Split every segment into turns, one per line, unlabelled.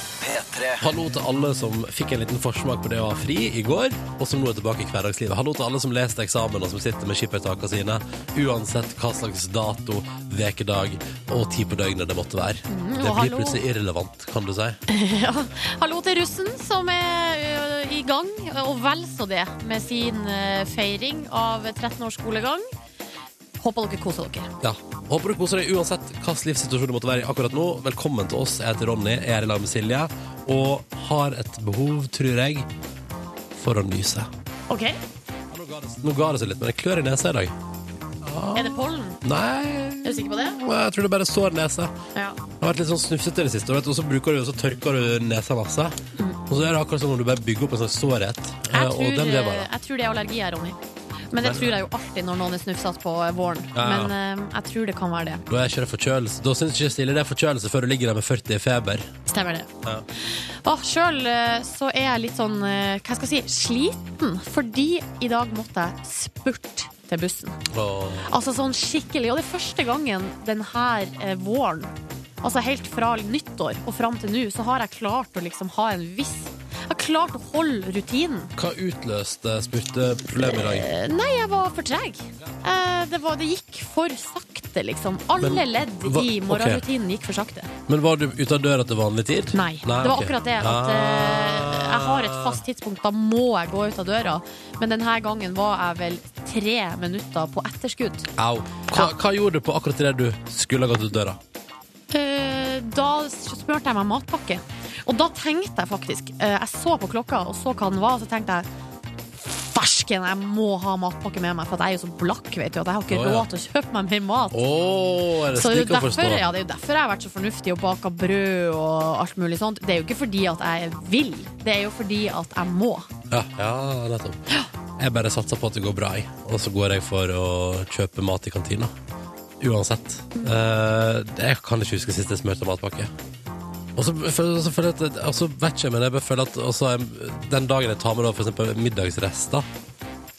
P3.
Hallo til alle som fikk en liten forsmak på det å ha fri i går, og som nå er tilbake i hverdagslivet. Hallo til alle som leste eksamen og som sitter med skippertakene sine, uansett hva slags dato, vekedag og tid på døgnet det måtte være.
Mm, og
det blir
hallo.
plutselig irrelevant, kan du si.
Ja. Hallo til russen, som er ø, i gang, og vel så det, med sin ø, feiring av 13 års skolegang. Håper dere koser dere.
Ja. Håper du koser deg uansett hvilken livssituasjon du måtte være i akkurat nå. Velkommen til oss. Jeg heter Ronny, jeg er i lag med Silje og har et behov, tror jeg, for å nyse.
OK?
Nå ga det, nå ga det seg litt, men jeg klør i nesa i dag.
Er det pollen?
Nei,
Er du sikker på det?
jeg tror det bare sår nese.
Ja.
Det har vært litt sånn snufsete i det siste, og vet du, og så bruker du, og så tørker du nesa masse. Og så er det akkurat som om du bare bygger opp en sånn sårhet, eh,
Mm. Jeg
og
tror,
den vil
ø,
vare.
jeg tror det er allergi her, Ronny. Men det tror jeg jo alltid når noen er snufsete på våren.
Ja.
Men ø, jeg tror det kan være det.
Da er ikke det forkjølelse. Da syns ikke Silje det er forkjølelse før du ligger der med 40 i feber.
Stemmer det.
Ja.
Åh, Sjøl eh, så er jeg litt sånn eh, hva skal jeg si, sliten, fordi i dag måtte jeg spurte til bussen.
Og
Altså sånn skikkelig. Og det er første gangen denne eh, våren, altså helt fra nyttår og fram til nå, så har jeg klart å liksom ha en viss Jeg har klart å holde rutinen.
hva utløste spurteproblemet i dag?
Eh, Nei, jeg var for treg. Eh, Det, var, det gikk for sakte, liksom. Alle
Men,
ledd
hva-
i
ok.
morgenrutinen gikk for sakte.
Men var du ute av døra til vanlig tid?
Nei. det var
ok.
akkurat det. At, eh, jeg har et fast tidspunkt. Da må jeg gå ut av døra. Men denne gangen var jeg vel tre minutter på etterskudd.
Ah. Au. Hva, hva gjorde du på akkurat det du skulle ha gått ut døra?
Eh, Da spurte jeg meg matpakke. Og da tenkte jeg faktisk eh, Jeg så på klokka og så hva den var, og så tenkte jeg Fersken, jeg må ha matpakke med meg, for at jeg er jo så blakk. vet du Og jeg har ikke
Å, ja.
råd til å kjøpe meg mer mat.
Å, er det
Så det er,
slik
jo
å
derfor,
forstå?
ja, det er jo derfor jeg har vært så fornuftig og baka brød og alt mulig sånt. Det er jo ikke fordi at jeg vil, det er jo fordi at jeg må.
Ja, ja, nettopp. Jeg bare satser på at det går bra, jeg. Og så går jeg for å kjøpe mat i kantina. Uansett. Eh, jeg kan ikke huske sist jeg smurte matpakke. Og så føler så føler jeg at Og så vet ikke jeg, men jeg bare føler at også, jeg- den dagen jeg tar med da, for eksempel middagsrester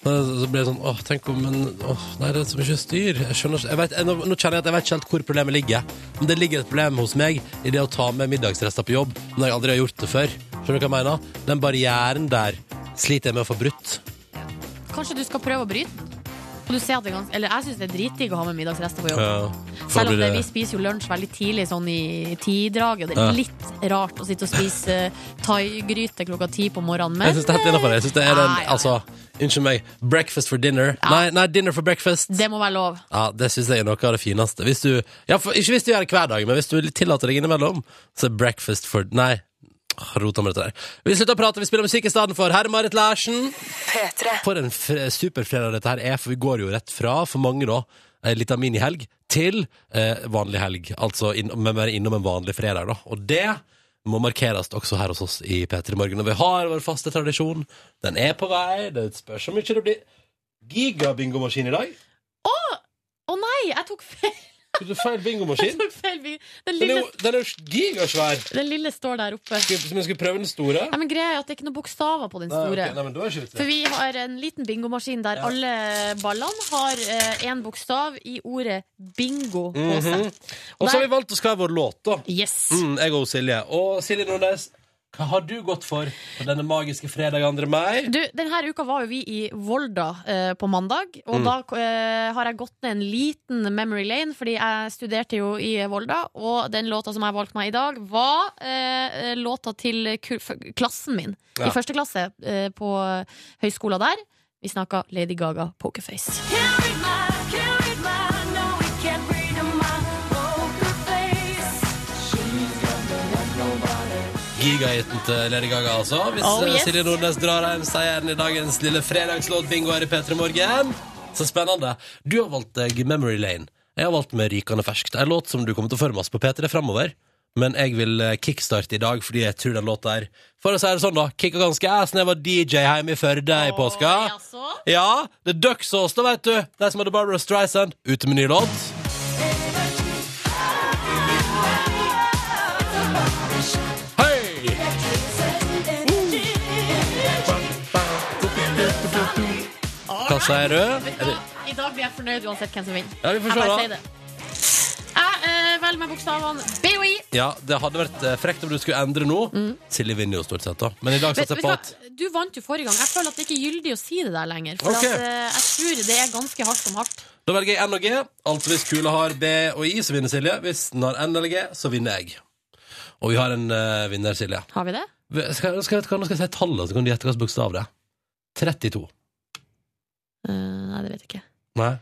så så blir det sånn Åh, tenk om Men åh, nei, det er så mye styr. Jeg skjønner ikke jeg vet, jeg, nå, nå kjenner jeg at jeg vet ikke helt hvor problemet ligger. Men det ligger et problem hos meg i det å ta med middagsrester på jobb når jeg aldri har gjort det før. Skjønner du hva jeg mener? Den barrieren der sliter jeg med å få brutt.
Kanskje du skal prøve å bryte den? Og du ser at det er gans- Eller jeg syns det er dritdigg å ha med middagsrester på jobb.
Ja, for da
Selv om
blir
det, vi spiser jo lunsj veldig tidlig sånn i tidraget, og det
Ja.
er litt rart å sitte og spise eh, thaigryte klokka ti på morgenen. Men
Jeg syns det er helt innafor. Jeg synes det er den,
Nei, nei.
altså Unnskyld meg. Breakfast for dinner. Nei, nei, dinner for breakfast.
det må være lov.
Ja, Det syns jeg er noe av det fineste. Hvis du, ja, for, ikke hvis du gjør det hver dag, men hvis du tillater deg innimellom, så er breakfast for Nei, Åh, rota med dette der. Vi slutter å prate, vi spiller musikk i stedet for. Her er Marit Larsen. For en fr- superfredag dette her er, for vi går jo rett fra, for mange da, eh, en liten minihelg til eh, vanlig helg. Altså inn, men være innom en vanlig fredag, da. Og det må markeres også her hos oss i P3 Morgen. Og vi har vår faste tradisjon. Den er på vei. Det spørs om ikke det blir gigabingomaskin i dag.
Å nei, jeg tok feil!
Du feil
Jeg
bingomaskin.
tok feil. bil.
Den
Den
er
lille,
jo- den er jo gigasvær.
den lille står der oppe.
Skal vi- Som jeg skulle prøve den store?
Nei, men greia er at det er ikke noen bokstaver på den
Nei,
store.
ok, nei, men da er ikke
For
det.
vi har en liten bingomaskin der alle ballene har én bokstav i ordet bingo på seg.
Mhm. Og så har
der-
vi valgt å skrive vår låt, da.
Yes.
Mm, jeg og Silje. Og Silje Nordnes, hva har du gått for på denne magiske fredag 2. mai?
Du, denne uka var jo vi i Volda eh, på mandag,
Mm.
og da eh, har jeg gått ned en liten memory lane, fordi jeg studerte jo i Volda, og den låta som jeg valgte meg i dag, var eh, låta til ku- f- klassen min
Ja.
i første klasse eh, på høyskolen der. Vi snakka Lady Gaga Pokerface.
Gigahiten til Lady Gaga, altså. Hvis
Oh,
eh,
yes.
Silje Nordnes drar hjem seieren i dagens lille fredagslåtbingo her i P3 Morgen. Så spennende. Du har valgt deg Memory Lane. Jeg har valgt med Rykende ferskt. En låt som du kommer til å følge med oss på P3 framover. Men jeg vil eh, kickstarte i dag, fordi jeg tror den låta her For å si det sånn, da. Kicka ganske ass når jeg var DJ hjemme i Førde i påska.
altså-
Ja, det er Ducksås, da, vet du. De som hadde Barbara Streisand. Ute med ny låt. Hei! Hva sier du?
Vet du hva? I dag blir jeg fornøyd uansett hvem som vinner.
Ja, vi får
Jeg
se
bare
da.
sier det. Jeg eh, vel Spill med bokstavene BOI.
Ja, det hadde vært eh, frekt om du skulle endre nå. Silje vinner jo stort sett, da. Men i dag
Vet-
satser jeg
Mm. vet Du
på
hva?
at
Du vant jo forrige gang. Jeg føler at det ikke er gyldig å si det der lenger. For
Ok.
at, eh, jeg tror det er ganske hardt om hardt.
Da velger jeg N og G. Altså hvis kula har B og I, så vinner Silje. Hvis den har N eller G, så vinner jeg. Og vi har en eh, vinner, Silje.
Har vi det?
Skal, skal, skal, jeg- nå skal jeg si tallet, så kan du gjette hvilken bokstav det er. 32.
Eh, nei, det vet jeg ikke.
Nei.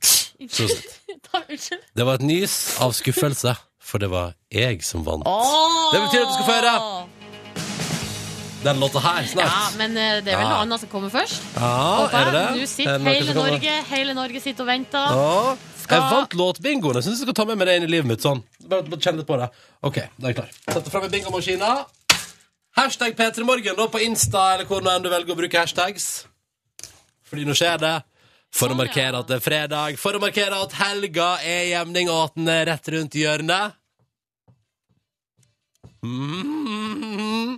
Så
Unnskyld. Ta- Unnskyld.
Det var et nys av skuffelse, for det var jeg som vant. Det betyr at du skal få høre. Den låta her
Ja,
snart.
men eh, det er vel
Ja.
noe annet som kommer først.
Ja,
Håper
er det
jeg.
det? Eh,
Nå
Er
sitter
det noe
hele
som kommer?
Norge, hele Norge sitter og venter.
Ja.
Skal-
Jeg vant låtbingoen. Jeg syns jeg skal ta med meg det inn i livet mitt. sånn Bare, bare kjenne litt på det. Ok, da er jeg klar. Sette fram bingomaskina. Hashtag P3morgen da på Insta eller hvor nå enn du velger å bruke hashtags. Fordi nå skjer det. For å
Sånn,
markere
ja.
at det er fredag, for å markere at helga er jevning, og at den er rett rundt hjørnet. Mm.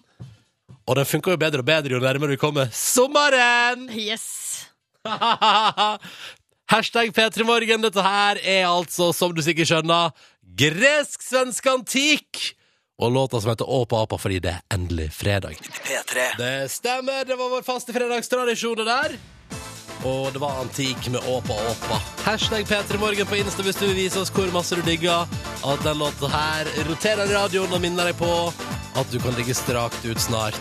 Og den funker jo bedre og bedre jo nærmere vi kommer sommeren!
Yes.
Hashtag P3morgen. Dette her er altså, som du sikkert skjønner, gresk-svensk antikk! Og låta som heter Åpa apa fordi det er endelig fredag. Det stemmer, det var vår faste fredagstradisjon det der. Og det var antikk med Åpa Åpa. Hashtag P3morgen på Insta hvis du vil vise oss hvor masse du digger at den låta her roterer i radioen og minner deg på at du kan ligge strakt ut snart.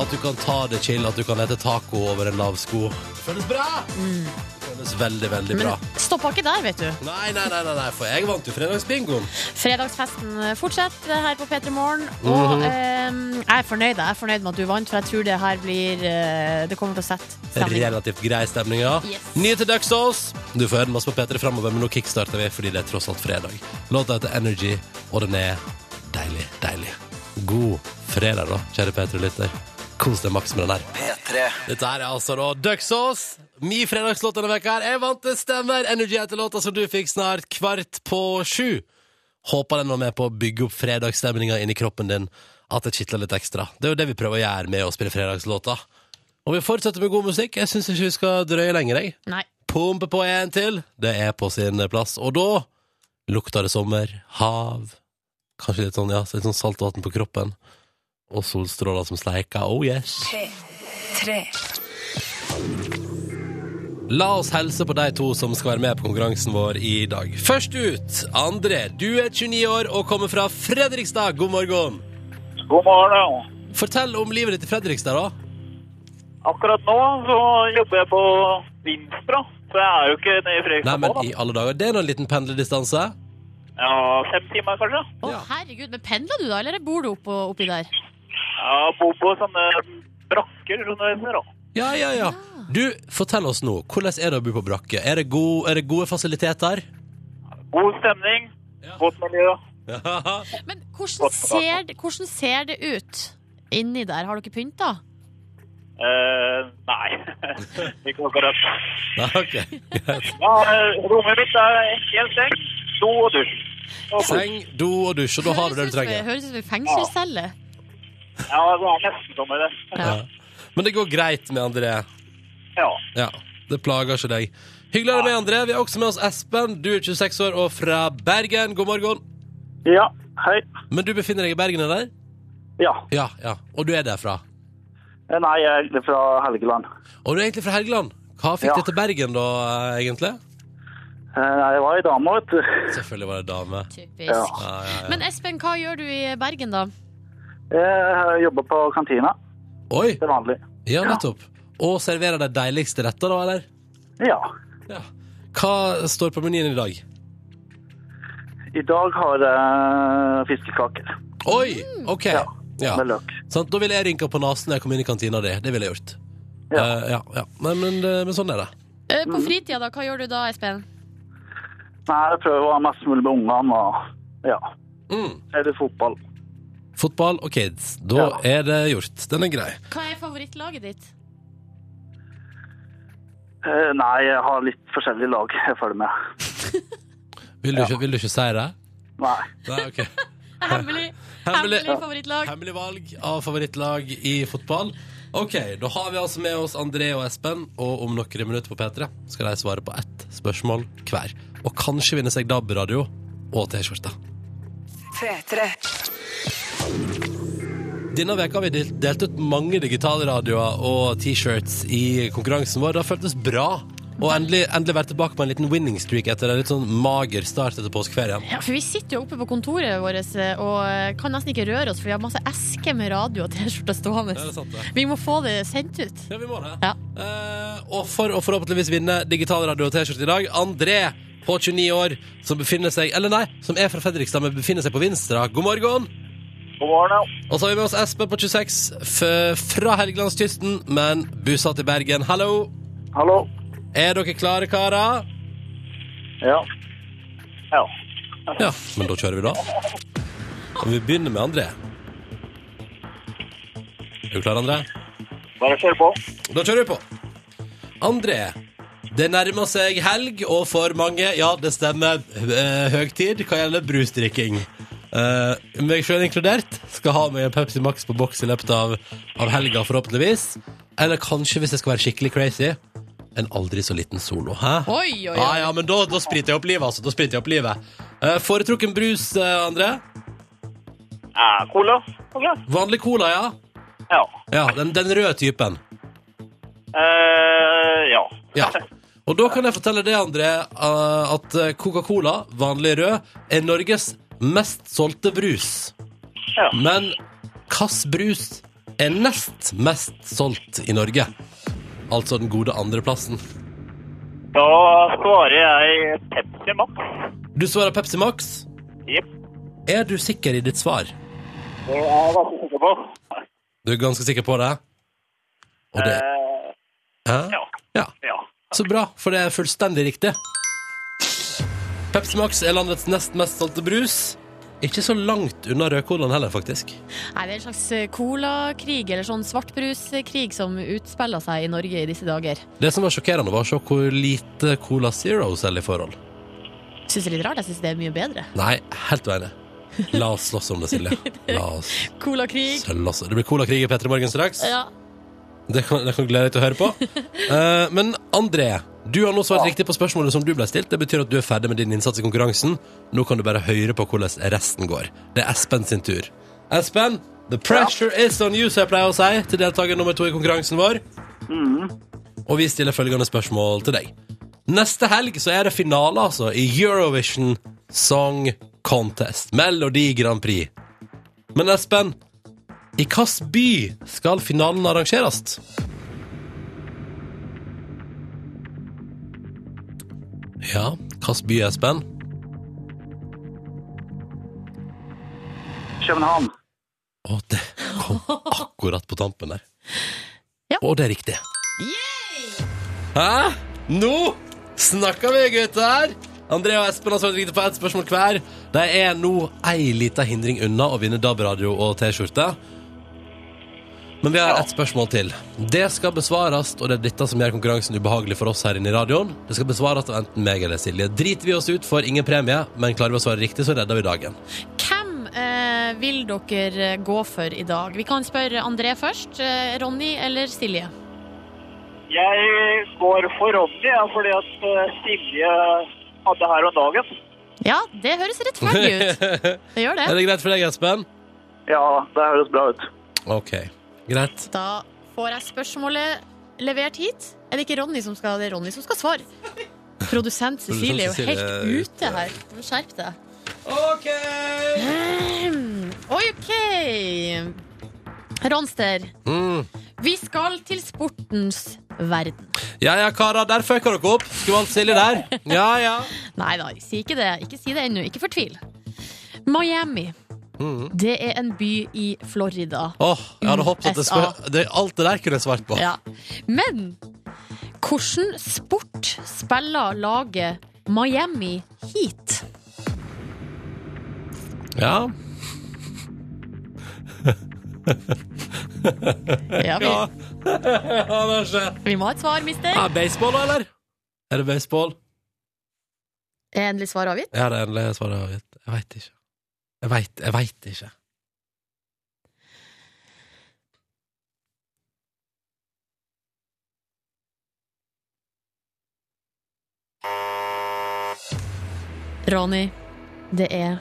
At du kan ta det chill, at du kan hete taco over en lav sko. Det føles bra! Det føles veldig, veldig
Men
bra.
stoppa ikke der, vet du.
Nei, nei, nei, nei, nei, for jeg vant jo fredagsbingoen.
Fredagsfesten eh, fortsetter her på P3 Morgen.
Mhm.
Og eh, jeg er fornøyd Jeg er fornøyd med at du vant, for jeg tror det her blir eh, Det kommer til å sette stemning.
Relativt grei stemning, ja.
Yes.
Nye til Duxos. Du får høre den masse på P3 framover, men nå kickstarter vi fordi det er tross alt fredag. Låta heter Energy, og den er deilig, deilig. God fredag, da, kjære P3-lytter. Kos deg maks med den her. Dette her er altså da Duxos. Min fredagslåt denne veka her. Jeg vant det stemmer. Energy heter låta som du fikk snart kvart på sju. Håper den var med på å bygge opp fredagsstemninga inni kroppen din. At det kitler litt ekstra. Det er jo det vi prøver å gjøre med å spille fredagslåta. Og vi fortsetter med god musikk. Jeg syns ikke vi skal drøye lenger, jeg.
Nei.
Pumpe på en til. Det er på sin plass. Og da lukter det sommer, hav, kanskje litt sånn, ja, litt sånn saltvann på kroppen. Og solstråler som sleiker. Oh yes. La oss helse på de to som skal være med på konkurransen vår i dag. Først ut, André. Du er 29 år og kommer fra Fredrikstad. God morgen.
God morgen.
Fortell om livet ditt i Fredrikstad, da.
Akkurat nå så jobber jeg på Vinstra, så jeg er jo ikke nede i
Nei,
Fredrikstad nå,
men i
da.
alle dager, det er nå en liten pendlerdistanse.
Ja, fem timer kanskje.
Å,
Ja.
herregud. Men pendler du, da, eller bor du oppå, oppi der?
Ja, bor på sånne brakker, sånne heter da.
Ja, ja, ja. Du, fortell oss nå. Hvordan er det å bo på brakke? Er det, god, er det gode fasiliteter?
God stemning,
Ja.
godt miljø.
Men hvordan ser, det- hvordan ser det ut inni der? Har dere pynta?
Eh, nei, ikke akkurat.
Nei, ok. Greit.
Ja, eh, rommet mitt er helt seng, do og dusj. Og kos.
Seng, do og dusj, og da har du det du trenger.
Høres ut som en fengselscelle.
Ja, det er nesten som med det.
Ja. Men det går greit med André.
Ja.
Ja, det plager ikke deg. Hyggelig å ha deg med, André. Vi har også med oss Espen. Du er 26 år og fra Bergen. God morgen.
Ja, hei.
Men du befinner deg i Bergen, eller?
Ja,
Ja, ja. Og du er derfra.
nei, jeg er fra Helgeland.
Og du er egentlig fra Helgeland. Hva fikk
Ja.
deg til Bergen, da, eh, egentlig?
Eh, Jeg var i dame, vet du.
Selvfølgelig var det dame.
Typisk.
Ja.
Ja, ja, ja.
Men Espen, hva gjør du i Bergen, da?
Jeg jobber på kantina,
Oi!
til vanlig.
Ja, nettopp. Og serverer de deiligste retter, da, eller?
Ja.
Ja. Hva står på menyen i dag?
I dag har jeg fiskekaker
Oi! OK. Mm. Ja.
med løk.
Sant? Da ville jeg rynka på nesen når jeg kom inn i kantina di. Det ville jeg gjort.
Ja.
Eh, ja, ja. Men, men, eh, men sånn er det.
Ø, På fritida, da? Hva gjør du da, Espen?
Nei, jeg prøver å ha mest mulig med ungene og ja,
Mm.
spille fotball.
Fotball og kids. Da
Ja.
er det gjort. Den er grei.
Hva er favorittlaget ditt?
Eh, Nei, jeg har litt forskjellige lag jeg følger med.
Vil du, ikke, vil du ikke si det?
Nei.
Nei, ok.
Hemmelig,
Hemmelig,
hemmelig favorittlag.
hemmelig valg av favorittlag i fotball. Ok, da har vi altså med oss André og Espen, og om noen minutter på P3 skal de svare på ett spørsmål hver. Og kanskje vinne seg DAB-radio og T-skjorte.
P3.
Denne veka har vi del- delt ut mange digitale radioer og T-shirts i konkurransen vår. Det har føltes bra. Og endelig, endelig vært tilbake på en liten winning streak etter en litt sånn mager start etter påskeferien.
Ja, for vi sitter jo oppe på kontoret vårt og eh, kan nesten ikke røre oss, for vi har masse esker med radio og T-skjorter stående.
Det er sant, det.
Vi må få det sendt ut.
Ja, vi må det.
Ja.
Eh, og for å forhåpentligvis vinne digital radio og T-skjorte i dag, André på 29 år, som befinner seg Eller nei, som er fra Fredrikstad, men befinner seg på Vinstra. God morgen!
God morgen, ja.
Og så har vi med oss Espen på 26, f fra Helgelandskysten, men bosatt i Bergen. Hallo!
Hallo.
Er dere klare, karer?
Ja. Ja.
Ja, men da kjører vi da. Og vi begynner med André. Er du klar, André?
Bare kjør på.
Da kjører vi på. André, det nærmer seg helg, og for mange, ja, det stemmer, eh, høgtid hva gjelder brusdrikking. Eh, meg sjøl inkludert skal ha meg en Pepsi Max på boks i løpet av, av helga, forhåpentligvis. Eller kanskje, hvis jeg skal være skikkelig crazy, en aldri så liten solo. Hæ?
Oi, oi,
Ja,
oi.
Ah, ja, men da, da spriter jeg opp livet, altså. Da spriter jeg opp livet. Eh, foretrukken brus, eh, André?
Ja, cola. Ok.
Vanlig cola, ja.
Ja.
Ja, den, den røde typen.
Eh, ja.
Ja. Og da kan jeg fortelle det, André, eh, at Coca-Cola, vanlig rød, er Norges mest solgte brus.
Ja.
Men Kass brus er nest mest solgt i Norge. Altså den gode andreplassen.
Da svarer jeg Pepsi Max.
Du svarer Pepsi Max.
Jepp.
Er du sikker i ditt svar?
Det er jeg ganske sikker på.
Du er ganske sikker på det? Og det
Eh,
Hæ?
ja.
Ja.
Ja.
Så bra, for det er fullstendig riktig. Pepsi Max er landets nest mest solgte brus. Ikke så langt unna rødcolaen heller, faktisk.
Nei, det er en slags eh, colakrig, eller sånn svartbruskrig, som utspiller seg i Norge i disse dager.
Det som var sjokkerende, var å se hvor lite Cola Zero selger i forhold.
Syns det er litt rart. Jeg syns det er mye bedre.
Nei, helt uenig. La oss slåss om det, Silje. La oss
Colakrig.
slåss. Det blir colakrig i P3 Morgen straks.
Ja.
Det kan, det kan du glede deg til å høre på. Eh, men André, du har nå svart riktig på spørsmålet som du ble stilt. Det betyr at du er ferdig med din innsats i konkurransen. Nå kan du bare høre på hvordan resten går. Det er Espen sin tur. Espen, the pressure is on you, som jeg pleier å si til deltaker nummer to i konkurransen vår. Og vi stiller følgende spørsmål til deg. Neste helg så er det finale, altså, i Eurovision Song Contest. Melodi Grand Prix. Men Espen, i hvilken by skal finalen arrangeres? Ja, hvilken by, Espen?
København.
Å, det kom akkurat på tampen der.
Ja.
Å, det er riktig. Hæ? Nå snakker vi, gutter! André og Espen har svart riktig på ett spørsmål hver. De er nå ei lita hindring unna å vinne DAB-radio og T-skjorte. Men vi har ett spørsmål til. Det skal besvares, og det er dette som gjør konkurransen ubehagelig for oss her inne i radioen. Det skal besvares av enten meg eller Silje. Driter vi oss ut, får ingen premie, men klarer vi å svare riktig, så redder vi dagen.
Hvem eh, vil dere eh, gå for i dag? Vi kan spørre André først. Eh, Ronny eller Silje?
Jeg går for Ronny, ja, fordi at eh, Silje hadde her om dagen.
Ja, det høres rettferdig ut. Det gjør det.
Er det greit for deg, Espen?
Ja, det høres bra ut.
OK. Greit.
Da får jeg spørsmålet levert hit. Er det ikke Ronny som skal, det er Ronny som skal svare? Produsent Cecilie er jo
Cecilie er
helt
ute.
ute her. Du må skjerpe deg. Ehm,
OK!
OK. Ronster,
Mm.
vi skal til sportens verden.
Ja ja, karer, der fucka dere opp. Skvalt Silje der. Ja ja.
Nei da, si ikke det. Ikke si det ennå. Ikke fortvil. Miami.
Mm.
Det er en by i Florida.
Åh, jeg hadde håpet at det skulle, det, alt det der kunne jeg svart på.
Ja. Men hvordan sport spiller laget Miami Heat?
Ja,
Ja, vi,
ja. ja kanskje.
vi må ha et svar, mister.
Ja, baseball, da, eller? Er det baseball?
Er endelig svar avgitt?
Ja, det er endelig svaret jeg vet. Jeg veit ikke. Jeg veit, jeg veit ikke.
Ronny, Det er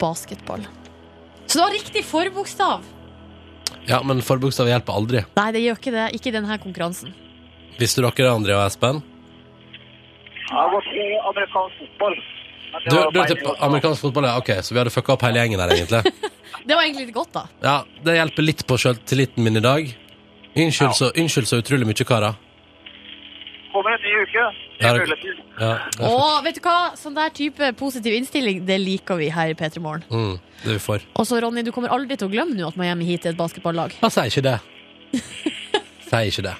basketball. Så du har riktig forbokstav!
Ja, men forbokstav hjelper aldri.
Nei, det gjør ikke det. Ikke i denne konkurransen.
Visste dere det, André og Espen?
Jeg var på amerikansk fotball. Men det
Du,
var
du
feil.
er til amerikansk fotball, ja. Ok, så vi hadde fucka opp hele gjengen her, egentlig.
Det var egentlig litt godt, da.
Ja, det hjelper litt på selvtilliten min i dag. Unnskyld så, unnskyld så utrolig mye, karer.
Kommer en ny uke.
Ja,
Nye
det-
muligheter.
Ja, det er
Og vet du hva? Sånn der type positiv innstilling, det liker vi her i P3 Morgen.
fint. mm, det vi får.
Og så, Ronny, du kommer aldri til å glemme nå at Miami Heat er et basketballag.
Jeg sier ikke det. Sier ikke det.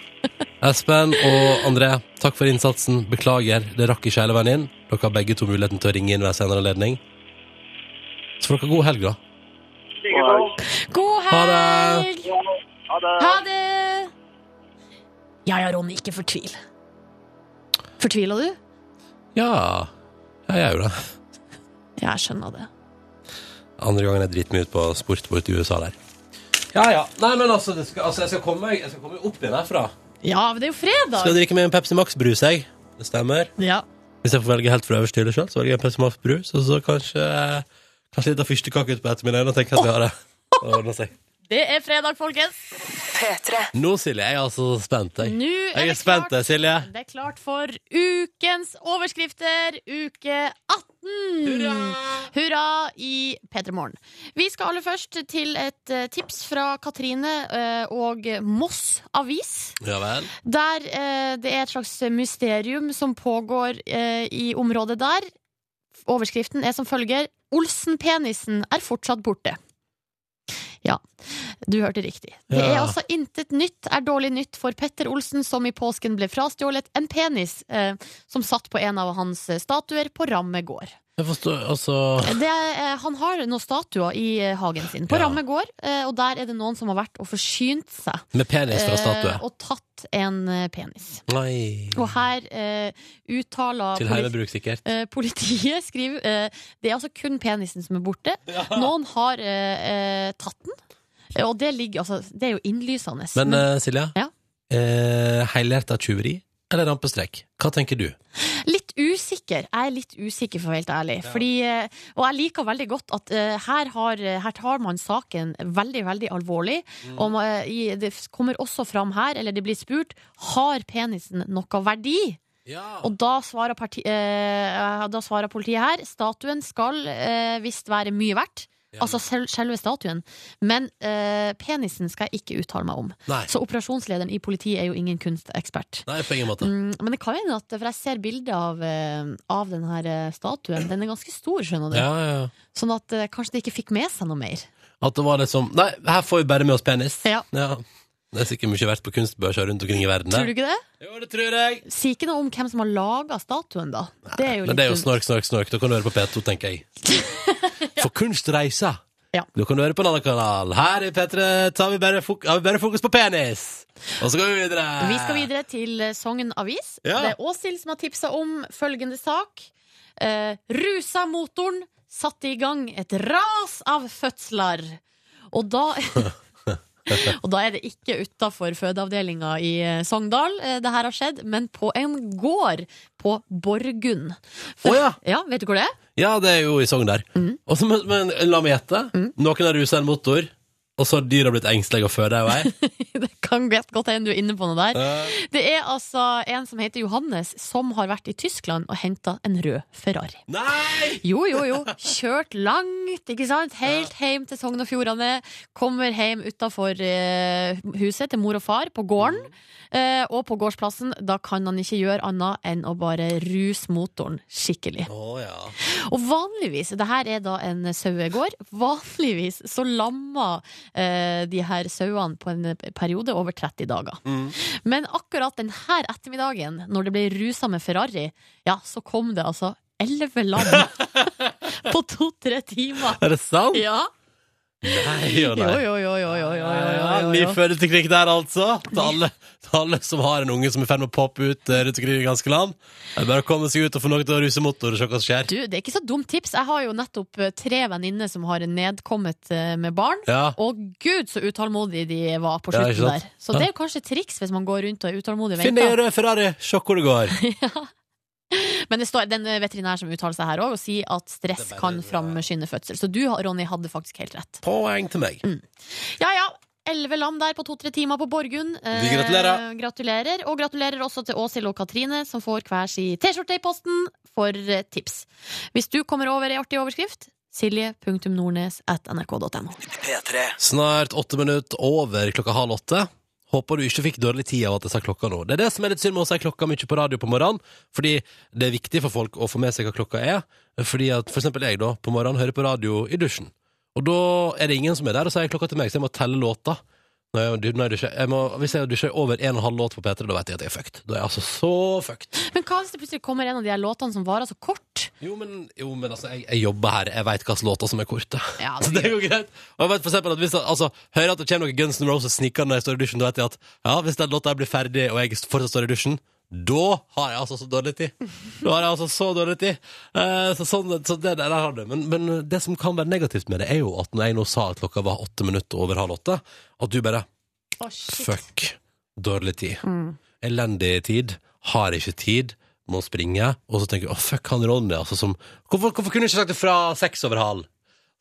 Espen og André, takk for innsatsen. Beklager, det rakk ikke hele veien inn. Dere har begge to muligheten til å ringe inn ved en senere anledning. Så får dere god helg, da.
Like så.
God
Ha det.
helg!
Ha det.
Ha det! Ja ja, Ronny, ikke fortvil. Fortvila du?
Ja, ja jeg gjør det.
Ja, jeg skjønner det.
Andre gangen jeg driter meg ut på sport borte i USA der. Ja, ja. Nei, men altså, det skal, altså jeg, skal komme, meg- jeg skal komme meg opp igjen herfra.
Ja, men det er jo
Skal
fredag!
drikke med en Pepsi Max-brus, jeg. Det stemmer.
Ja.
Hvis jeg får velge helt fra øverste hylle sjøl, så velger jeg en Pepsi Max-brus, og så kanskje, kanskje litt av fyrstekake utpå ettermiddagen, og tenker jeg at vi har det. Det ordner seg.
Det er fredag, folkens!
P3.
Nå, Silje, jeg er altså spent. Jeg,
Nå er
jeg
det
er spent,
klart.
jeg, Silje.
Det er klart for ukens overskrifter, uke 18! Hurra! i P3 Morgen. Vi skal aller først til et eh, tips fra Katrine eh, og Moss Avis.
Ja vel.
Der eh, det er et slags mysterium som pågår eh, i området der. Overskriften er som følger Olsen-penisen er fortsatt borte. Ja, du hørte riktig. Det er
Ja.
altså intet nytt er dårlig nytt for Petter Olsen, som i påsken ble frastjålet en penis eh, som satt på en av hans eh, statuer på Ramme gård.
Jeg forstår, altså
Det er, eh, han har noen statuer i eh, hagen sin, på
Ja.
Ramme gård, eh, og der er det noen som har vært og forsynt seg
Med penis fra statue.
eh, og tatt en eh, penis.
Nei.
Og her eh, uttaler
Til hele bruk, sikkert.
eh, politiet skriver eh, Det er altså kun penisen som er borte. Noen har eh, eh, tatt den. Eh, Og det, ligger, altså, det er jo innlysende.
Men
Men
eh, Silje,
Ja.
eh, helhjerta tyveri eller rampestrek? Hva tenker du?
litt usikker. Jeg er litt usikker, for å være helt ærlig. Fordi, eh, og jeg liker veldig godt at eh, her, har, her tar man saken veldig, veldig alvorlig.
Mm.
Og man- i, det kommer også fram her, eller det blir spurt, har penisen noe verdi?
Ja.
Og da svarer, parti, eh, da svarer politiet her Statuen skal eh, visst være mye verdt Altså sel selve statuen Men eh, penisen skal jeg ikke uttale meg om
Nei.
Så operasjonslederen i politiet er jo ingen kunstekspert
Nei, på ingen måte.
mm, Men det kan jo hende at For jeg ser bilder av, eh, av denne her eh, statuen Den er ganske stor, skjønner du
Ja, ja.
Sånn at eh, kanskje de ikke fikk med seg noe mer
At det var liksom Nei, her får vi bare med oss penis.
Ja.
Det er sikkert mye verdt på kunstbørser rundt omkring i verden.
Tror du
det.
ikke det?
Jo, det tror jeg.
Si ikke noe om hvem som har laget statuen da Det er jo
Men det er jo
litt
snork,
dumt.
snork, snork. Da kan du høre på P2, tenker jeg. For kunstreiser.
Ja.
Da kan du høre på en annen kanal. Her i P3 tar vi bare, fok har vi bare fokus på penis. Og så går vi videre.
Vi skal videre til eh, Sogn Avis.
Ja.
Det er Åshild som har tipsa om følgende sak. Eh, rusa motoren satte i gang et ras av fødsler. Og da Og da er det ikke utafor fødeavdelinga i eh, Sogndal eh, det her har skjedd, men på en gård på Borgund. For-
Å ja.
Vet du hvor det er?
Ja, det er jo i Sogn der.
Mm.
Og så- Men, men la meg gjette. Noen har rusa en motor, og så har dyra blitt engstelige og føder i vei.
Det kan godt hende du er inne på noe der.
Eh,
Det er altså en som heter Johannes, som har vært i Tyskland og henta en rød Ferrari.
Nei!
Jo, jo, jo. Kjørt langt, ikke sant? Helt hjem til Sogn og Fjordane. Kommer hjem utafor eh, huset til mor og far, på gården. Eh, og på gårdsplassen, da kan han ikke gjøre annet enn å bare ruse motoren skikkelig.
Å ja.
Og vanligvis, det her er da en sauegård, vanligvis så lammer eh, de her sauene på en periode over 30 dager.
Mm.
Men akkurat denne ettermiddagen, når det ble rusa med Ferrari, ja, så kom det altså 11 lam på to-tre timer.
Er det sant?
Ja.
Nei og
Jo,
nei.
jo, jo, jo, jo, jo, jo,
Ja,
jo,
Ny
jo.
fødeteknikk der, altså. Til alle, til alle som har en unge som er i ferd med å poppe ut eh, rundt omkring i ganske land. Det er bare å komme seg ut og få noe til å ruse motor og se hva som skjer.
Du, det er ikke så dumt tips. Jeg har jo nettopp eh, tre venninner som har nedkommet eh, med barn.
Ja.
Og gud, så utålmodige de var på
Ja,
slutten
ikke sant?
der. Så det er jo kanskje et triks hvis man går rundt og er utålmodig og
Finn deg en
venter.
rød Ferrari, se hvor det går.
Men det står den eh, veterinær som uttaler seg her òg, og sier at stress
Det er bare-
kan framskynde fødsel. Så du, Ronny, hadde faktisk helt rett.
Poeng til meg.
Ja ja. Elleve lam der på to-tre timer på Borgund. Eh,
Vi gratulerer.
gratulerer. Og gratulerer også til Åshild og Katrine, som får hver sin T-skjorte i posten for eh, tips. Hvis du kommer over ei artig overskrift, silje.nordnes.nrk.no.
Snart åtte minutter over klokka halv åtte. Håper du ikke fikk dårlig tid av at jeg sa klokka nå. Det er det som er litt synd med å si klokka mye på radio på morgenen, fordi det er viktig for folk å få med seg hva klokka er. Fordi at for eksempel jeg da, på morgenen hører på radio i dusjen. Og da er det ingen som er der og sier klokka til meg, så jeg må telle låta. Når jeg, når jeg dusjer, jeg må, hvis jeg dusjer over en og en halv låt på P3, da vet jeg at jeg er fucked. Da er jeg altså så fucked.
Men hva hvis det plutselig kommer en av de her låtene som varer så kort?
Jo, men, jo, men altså, jeg, jeg jobber her. Jeg veit hvilke låter som er korte.
Ja,
Så det går greit. Og jeg vet for eksempel at hvis jeg, altså, hører at det kommer noen Guns N' Roses snikende når jeg står i dusjen, da vet jeg at ja, hvis den låta her blir ferdig, og jeg fortsatt står i dusjen, da har jeg altså så dårlig tid. Da har jeg altså så dårlig tid. Eh, så sånn, så det der har du. Men, men det som kan være negativt med det, er jo at når jeg nå sa at klokka var åtte minutter over halv åtte, at du bare
Å, shit. Mm.
Fuck. Dårlig tid. Elendig tid. Har ikke tid. Må springe. Og så tenker jeg å fuck han Ronny, altså, som hvorfor, hvorfor kunne du ikke sagt det fra seks over halv?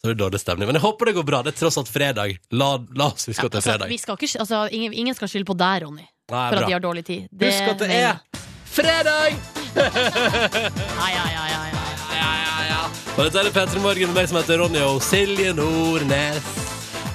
Så det er dårlig stemning. Men jeg håper det går bra. Det er tross alt fredag. La, la oss huske at det er
Altså,
fredag.
vi skal ikke, altså, ingen, ingen skal skylde på deg, Ronny,
Nei,
for at de
bra.
har dårlig tid.
Husk at det
mener-
er fredag!
Ja, ja, ja, ja, ja.
Ja, ja, ja. Og dette er Petter Morgen, meg som heter Ronny og Silje Nordnes.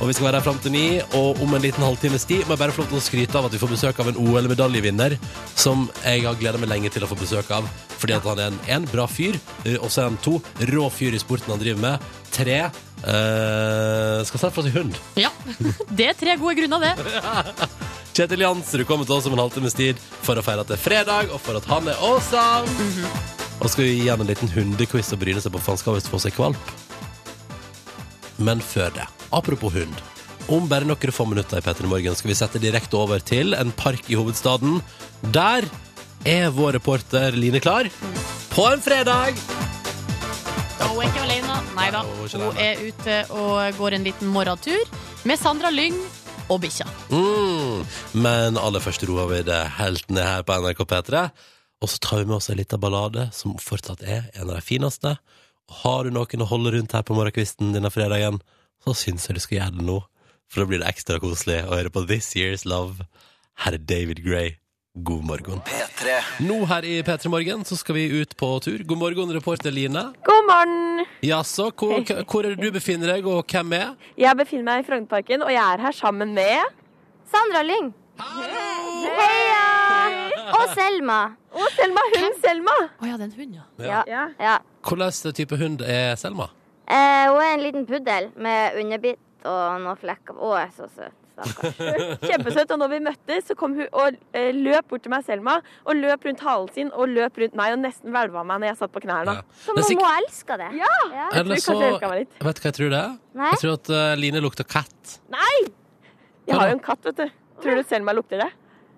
Og vi skal være her fram til ni, og om en liten halvtimes tid må jeg bare få lov til å skryte av at vi får besøk av en OL-medaljevinner som jeg har gleda meg lenge til å få besøk av. Fordi at han er en, en bra fyr, eh, og så er han to rå fyr i sporten han driver med. Tre eh, skal snart få seg hund.
Ja, Det er tre gode grunner, det.
Kjetil Jansrud kommer til oss om en halvtimes tid for å feire at det er fredag, og for at han er awesome. Og skal vi gi han en liten hundequiz og bryne seg på for han skal visst få seg kvalp. Men før det, apropos hund. Om bare noen få minutter i Petter i morgen skal vi sette direkte over til en park i hovedstaden. Der er vår reporter Line klar på en fredag.
Og hun er ikke alene. Nei da.
Nei, hun er ikke
Hun
alene.
er ute og går en liten morgentur med Sandra Lyng og bikkja.
Mm. Men aller først roer vi det helt ned her på NRK P3. Og så tar vi med oss en liten ballade som fortsatt er en av de fineste. Og har du noen å holde rundt her på morgenkvisten denne fredagen, så syns jeg du skal gjøre det nå. For da blir det ekstra koselig å høre på This Year's Love. Her er David Gray. God morgen. Nå her i P3 Morgen så skal vi ut på tur. God morgen, reporter Line.
God morgen!
Jaså, hvor, hvor er det du befinner deg, og hvem er?
Jeg befinner meg i Frognerparken, og jeg er her sammen med
Sandra Lyng. Heia! Og Selma.
Å, Selma! Hun Selma!
Å ja, det er en hund, ja.
Ja.
Ja.
Ja.
Hvilken type hund er Selma?
Eh, hun er en liten puddel med underbitt og noen flekker. Å, jeg er så søt. Stakkars.
Kjempesøt. Og når vi møttes, så kom hun og eh, løp bort til meg, Selma, og løp rundt halen sin og løp rundt meg og nesten hvelva meg når jeg satt på knærne.
Ja.
Så
Men sikk-
mamma elsker det.
Ja!
Ja.
Eller
Jeg
så
tror kanskje jeg elsker meg litt.
Vet du hva jeg tror det er?
Nei?
Jeg tror at eh, Line lukter katt.
Nei! Jeg har jo en katt, vet du. Tror du Selma lukter det?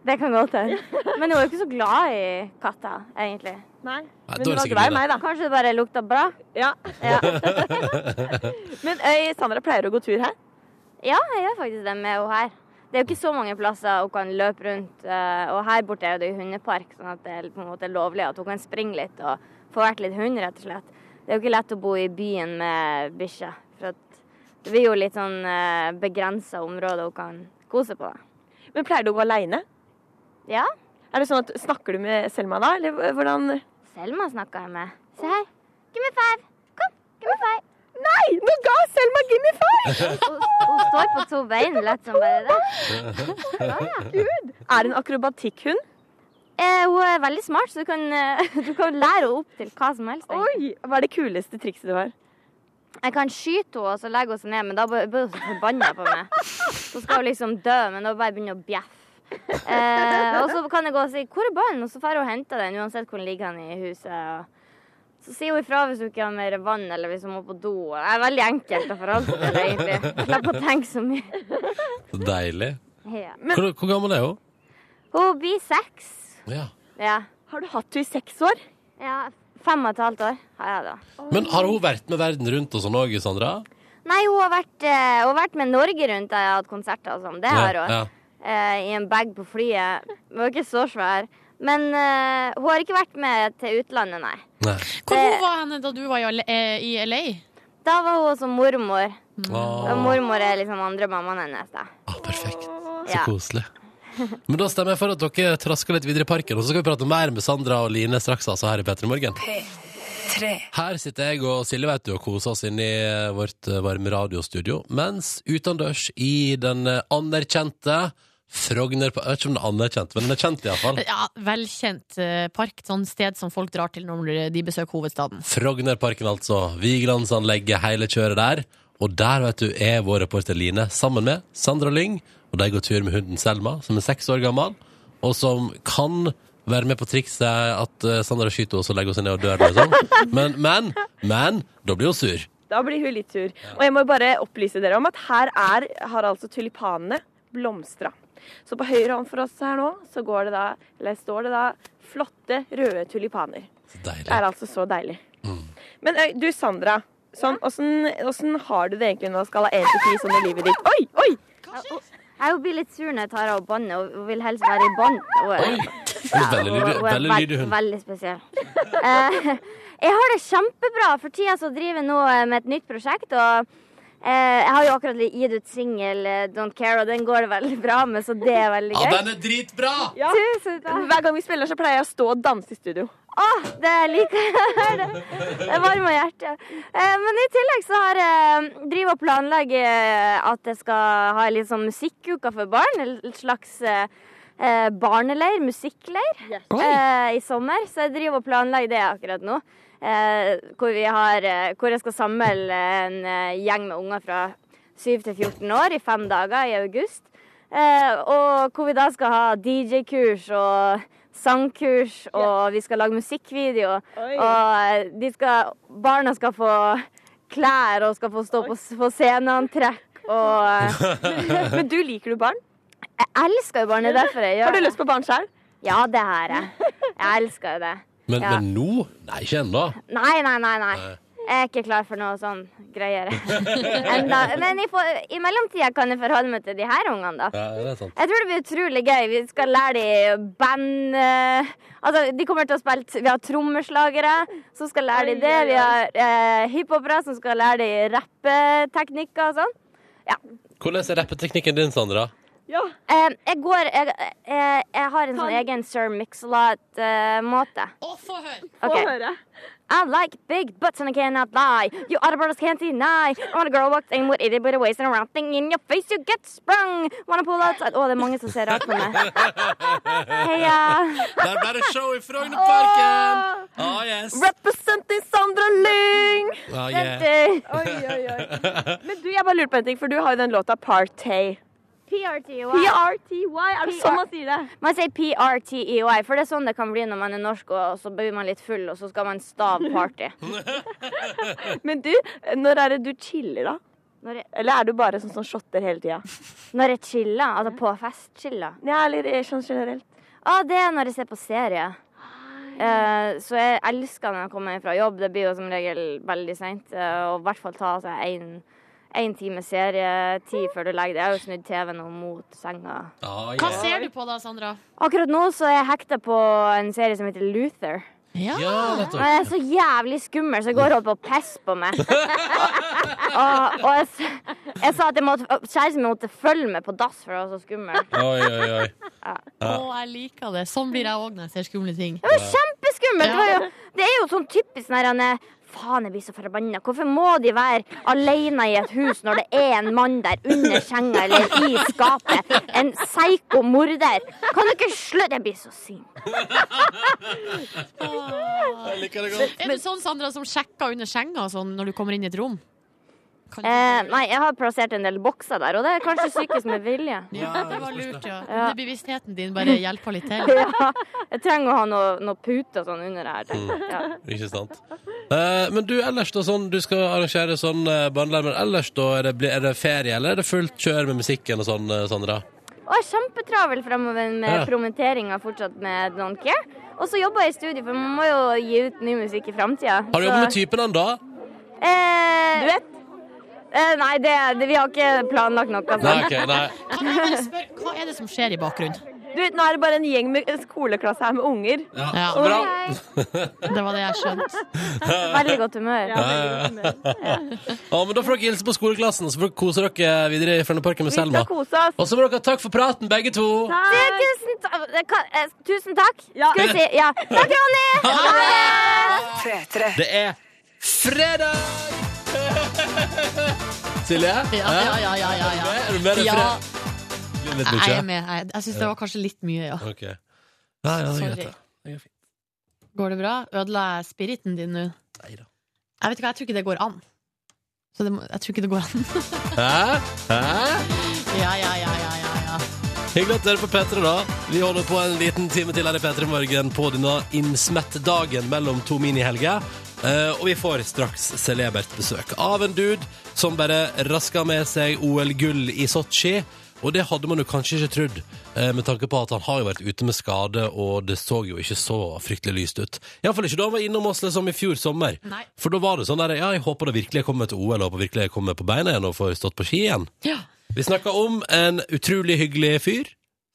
Det kan godt hende. Men hun er jo ikke så glad i katter, egentlig.
Nei.
Nei,
Men
da er
hun
det
var
sikkert
glad
mye,
i meg, da.
Kanskje det bare lukter bra?
Ja.
Ja.
Men øy, Sandra pleier å gå tur her.
ja, jeg gjør faktisk det med henne her. Det er jo ikke så mange plasser hun kan løpe rundt. eh, Og her borte er det jo hundepark, sånn at det er på en måte lovlig at hun kan springe litt og få vært litt hund, rett og slett. Det er jo ikke lett å bo i byen med bikkje. For at det blir jo litt sånn begrensa område hun kan kose på. da.
Men pleier du å gå aleine?
Ja,
Er det sånn at Snakker du med Selma da, eller hvordan
Selma snakka jeg med. Se her. Give me five. Kom, give me five.
Nei! Nå ga Selma Gimme five!
Hun, hun står på to bein, lett som bare det.
Gud! Er det en akrobatikkhund?
Eh, hun er veldig smart, så du kan, eh, du kan lære henne opp til hva som helst. egentlig.
Oi! Hva er det kuleste trikset du har?
Jeg kan skyte henne og så legge hun seg ned, men da blir blir hun så forbanna på meg. Så skal hun liksom dø, men da bare begynner hun å bjeffe. Eh, og så kan jeg gå og si 'hvor er ballen?' og så drar hun og henter den uansett hvor den ligger han i huset. Og så sier hun ifra hvis hun ikke har mer vann, eller hvis hun må på do. Det er veldig enkelt å forholde seg til det, egentlig. Slapp å tenke så mye.
Så deilig.
Ja.
Hvor, hvor gammel er hun?
Hun blir seks.
Ja.
Ja.
Har du hatt henne i seks år?
ja. Fem og et halvt år har jeg da.
Men har hun vært med verden rundt og sånn òg, Sandra?
Nei, hun har vært, eh, hun har vært med Norge rundt da jeg har hatt konserter og sånn. Det har
Ja,
hun.
ja.
eh, i en bag på flyet. Den var ikke så svær, Men eh, hun har ikke vært med til utlandet, nei.
Nei.
Hvor
Det-
var henne da du var i L- eh, i LA?
Da var hun som mormor. Og
Ah,
mormor er liksom andre mammaen hennes. da.
ah, perfekt. Så
Ja.
koselig. Men da stemmer jeg for at dere trasker litt videre i parken, og så skal vi prate mer med Sandra og Line straks, altså, her i Petter i Morgen.
Tre.
Her sitter jeg og Silje vet du, og koser oss inne i vårt eh, varme radiostudio, mens utendørs i den eh, anerkjente Frogner på, Jeg vet ikke om den er anerkjent, men den er kjent iallfall.
Ja, Velkjent eh, park. Sånn sted som folk drar til når de besøker hovedstaden.
Frognerparken, altså. Vigelandsanlegget, hele kjøret der. Og der vet du, er vår reporter Line sammen med Sandra Lyng. Og de går tur med hunden Selma, som er seks år gammel, og som kan være med på trikset at eh, Sandra skyter henne og så legger hun seg ned og dør. Liksom. Men, men, men, da blir hun sur.
Da blir hun litt sur. Og jeg må bare opplyse dere om at her er, har altså tulipanene blomstra. Så på høyre hånd for oss her nå, så går det da, eller står det da flotte røde tulipaner.
Så
Det er
Deilig.
altså så deilig. Men øy, du, Sandra. Sånn, åssen, åssen har du det egentlig når du skal ha 1 til 10 sånn i livet ditt? Oi, oi!
Jeg blir litt sur når jeg tar av henne båndet, og hun vil helst være i bånd. Hun
Oi!
er-
Hun er veldig lydig,
Hun er
veldig
veld-
lydig hund.
Veldig spesiell. Eh, jeg har det kjempebra. For tida så driver jeg nå eh, med et nytt prosjekt. og eh, jeg har jo akkurat gitt ut singel eh, 'Don't Care', og den går det veldig bra med, så det er veldig
Ja,
gøy.
den er dritbra!
Ja.
Tusen takk.
Hver gang vi spiller, så pleier jeg å stå og danse i studio.
Åh, det liker jeg. Det varmer hjertet. Eh, Men i tillegg så har jeg driver og planlegger eh, at jeg skal ha en litt sånn musikkuke for barn. En slags eh, eh, barneleir, musikkleir, eh, i sommer. Så jeg driver og planlegger det akkurat nå. Eh, hvor, vi har, eh, hvor jeg skal samle en eh, gjeng med unger fra 7 til 14 år i fem dager i august. Eh, og hvor vi da skal ha DJ-kurs og sangkurs, og vi skal lage musikkvideo.
Oi.
Og de skal, barna skal få klær og skal få stå på, s- på sceneantrekk. Og
Men du liker du barn?
jeg elsker jo barn, det er derfor jeg gjør
Har du lyst på barn sjøl?
det. Ja, det har jeg. Jeg elsker jo det.
Men,
Ja.
men nå? Nei, ikke ennå.
Nei, nei, nei. nei. Jeg er ikke klar for noe sånn greier. Enda. Men i, for, i mellomtida kan jeg forholde meg til de her ungene, da.
Ja, det er sant.
Jeg tror det blir utrolig gøy. Vi skal lære de band eh, Altså, de kommer til å spille t- Vi har trommeslagere som skal lære de det. Vi har eh, hiphopere som skal lære de rappeteknikker og sånn.
Hvordan er rappeteknikken din, Sandra?
Ja.
Eh, jeg går jeg, eh, jeg har en sånn egen Sir Mix-a-Lot-måte.
Å, få høre!
Få
Ok.
høre.
I like big butts and I cannot lie. You other brothers can't deny. I want a girl walks in with itty bitty waist and a round thing in your face. You get sprung. Wanna pull outside. Å, det er mange som ser rart på meg. Heia.
Der ble det show i Frognerparken! Ah, yes.
Representing Sandra Lyng!
Ah, yeah.
Jenter.
Oi, oi, oi. Men du, jeg bare lurer på en ting, for du har jo den låta Partay.
PRTY.
PRTY, er det sånn man sier det?
Man sier PRTEY, for det er sånn det kan bli når man er norsk og så blir man litt full, og så skal man stave party.
Men du, når er det du chiller, da?
Når jeg,
Eller er du bare sånn som shotter hele tida?
når jeg chiller, altså på fest chiller.
Ja, eller eh, sånn generelt.
Å, det er når jeg ser på serie. Eh, så jeg elsker når jeg kommer fra jobb. Det blir jo som regel veldig seint. eh, og i hvert fall ta seg en, en time serietid før du legger deg. Jeg har jo snudd TV-en nå mot senga.
Ah,
Hva
yeah.
ser du på da, Sandra?
Akkurat nå så er jeg hekta på en serie som heter Luther.
Ja,
Ja,
Og
nettopp.
Ah.
jeg er så jævlig skummel, så jeg går og holder på å pisse på meg. og og jeg, s- jeg sa at jeg måtte, kjæresten min måtte følge meg på dass, for det var så skummelt.
Oi, oi, oi.
Å, jeg liker det. Sånn blir jeg òg når jeg ser skumle ting.
Det var kjempeskummelt! Det, var
Ja.
jo, det er jo sånn typisk når han er Faen, jeg blir så forbanna. Hvorfor må de være alene i et hus når det er en mann der under senga eller i skapet? En psyko morder. Kan du ikke slutte? Jeg blir så sint.
Jeg liker det godt.
Er du sånn, Sandra, som sjekker under senga og sånn når du kommer inn i et rom? Kan du-
Eh, nei, jeg har plassert en del bokser der, og det er kanskje psykisk med vilje.
Ja, det var lurt, ja.
Ja.
Det bevisstheten din bare hjelper litt til.
Ja, jeg trenger å ha noe, noe pute og sånn under her. tenker
Mm.
jeg. Ja.
Ikke sant. Eh, men du, ellers da, sånn, du skal arrangere sånn uh, barneleir, men ellers da, er det, blir- er det ferie, eller er det fullt kjør med musikken og sånn, eh, Sandra?
Og jeg er kjempetravel fremover med
Ja.
promoteringa fortsatt med Don't Care. Og så jobber jeg i studio, for man må jo gi ut ny musikk i framtida.
Har du jobbet med typen han da?
Eh,
Du vet,
eh, nei, det, det, vi har ikke planlagt noe altså.
Nei, ok,
sånt.
nei.
Kan jeg bare spørre, hva er det som skjer i bakgrunnen?
Du, nå er det bare en gjeng med en skoleklasse her med unger.
Ja,
Ja.
bra.
Det var det jeg skjønte.
Veldig godt humør.
Ja, veldig godt humør.
Ja, men da får dere hilse på skoleklassen, så får dere kose dere videre i Frognerparken med
Vi skal
Selma.
kose oss.
Og så må dere ha takk for praten, begge to.
Tusen, ta- eh, ka- eh, tusen takk.
Ja.
Skal vi si ja. Takk, Ronny!
Ha det!
P3.
Det er fredag! Silje?
Ja, ja, ja, ja, ja, ja.
Er du med? Er du med? Er du fre- Blir
Ja,
litt
jeg
mye?
er med. Jeg, jeg syns det var kanskje litt mye, ja.
Ok. Ja, ja, det er greit,
Sorry.
det. det. er fint.
Går det bra? Ødela jeg spiriten din nå?
Neida.
Jeg vet ikke, jeg tror ikke det går an. Så det, må- jeg tror ikke det går an.
Hæ? Hæ?
Ja, ja, ja, ja, ja, ja.
Hyggelig at dere er på P3, da. Vi holder på en liten time til her i P3 Morgen på denne innsmettdagen mellom to minihelger. Eh, og vi får straks celebert besøk av en dude som bare raska med seg OL-gull i Sotsji. Og det hadde man jo kanskje ikke trodd, eh, med tanke på at han har jo vært ute med skade, og det så jo ikke så fryktelig lyst ut. Iallfall ikke da han var innom oss liksom i fjor sommer.
Nei.
For da var det sånn der Ja, jeg håper da virkelig jeg kommer til OL, og håper virkelig jeg kommer på beina igjen og får stått på ski igjen.
Ja,
Vi snakker om en utrolig hyggelig fyr,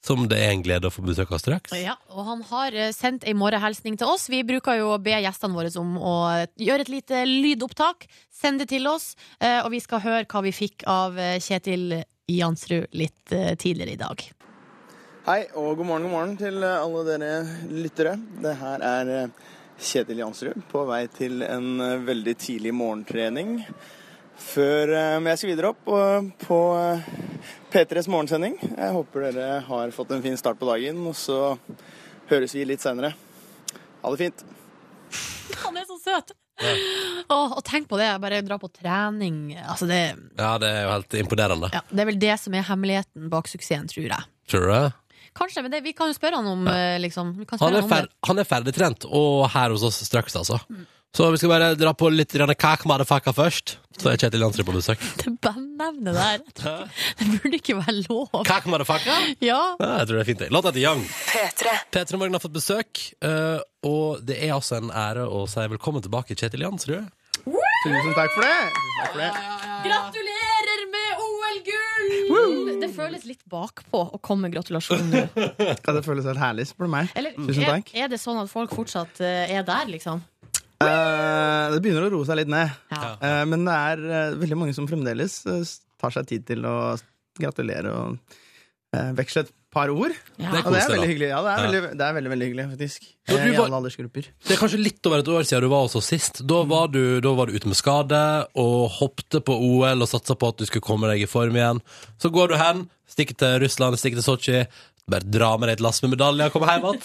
som det er en glede å få besøk av straks.
ja. Og han har eh, sendt ei morgenhilsning til oss. Vi bruker jo å be gjestene våre om å eh, gjøre et lite lydopptak. Send det til oss, eh, og vi skal høre hva vi fikk av eh, Kjetil Jansrud litt eh, tidligere i dag.
Hei, og god morgen, god morgen til eh, alle dere lyttere. Det her er eh, Kjetil Jansrud på vei til en eh, veldig tidlig morgentrening. Før eh, men jeg skal videre opp og på eh, P3s morgensending. Jeg håper dere har fått en fin start på dagen, og så høres vi litt seinere. Ha det fint.
Han er så søt! Åh, og tenk på det, bare dra på trening. Altså det,
Ja, det er jo helt imponerende.
ja, det er vel det som er hemmeligheten bak suksessen, tror jeg.
Tror du det?
Kanskje, men det, vi kan jo spørre han om, eh, liksom. Vi kan spørre
Han er,
han om
fer
det.
han er ferdigtrent, og her hos oss straks, altså. Så vi skal bare dra på litt grann kak motherfucker først, så er Kjetil Jansrud på besøk.
Det bandnevnet der, jeg tror ikke- det burde ikke være lov.
Kak motherfucker?
Ja,
Ja, jeg tror det er fint. det. Låta heter Young.
P3.
P3 Morgen har fått besøk, eh, og det er altså en ære å si velkommen tilbake, Kjetil Jansrud.
Tusen takk for det. Tusen takk for det.
Gratulerer med OL-gull! Det føles litt bakpå å komme med gratulasjon nå.
Ja, det føles helt herlig, spør du meg.
Eller
Tusen
er,
takk.
er det sånn at folk fortsatt eh, er der, liksom?
Eh, det begynner å roe seg litt ned.
Ja.
Eh, men det er eh, veldig mange som fremdeles eh, tar seg tid til å gratulere og eh, veksle et par ord.
Det er
ja.
Og det er
koselig, da.
veldig hyggelig. Ja, det er
Ja.
veldig, det er veldig, veldig hyggelig, faktisk.
Og
Eh,
du
I
var-
alle aldersgrupper.
Det er kanskje litt over et år siden du var hos oss sist. Da var du, da var du ute med skade og hoppte på OL og satsa på at du skulle komme deg i form igjen. Så går du hen, stikker til Russland, stikker til Sotsji. Bare dra med deg et lass med medaljer og kom hjem igjen.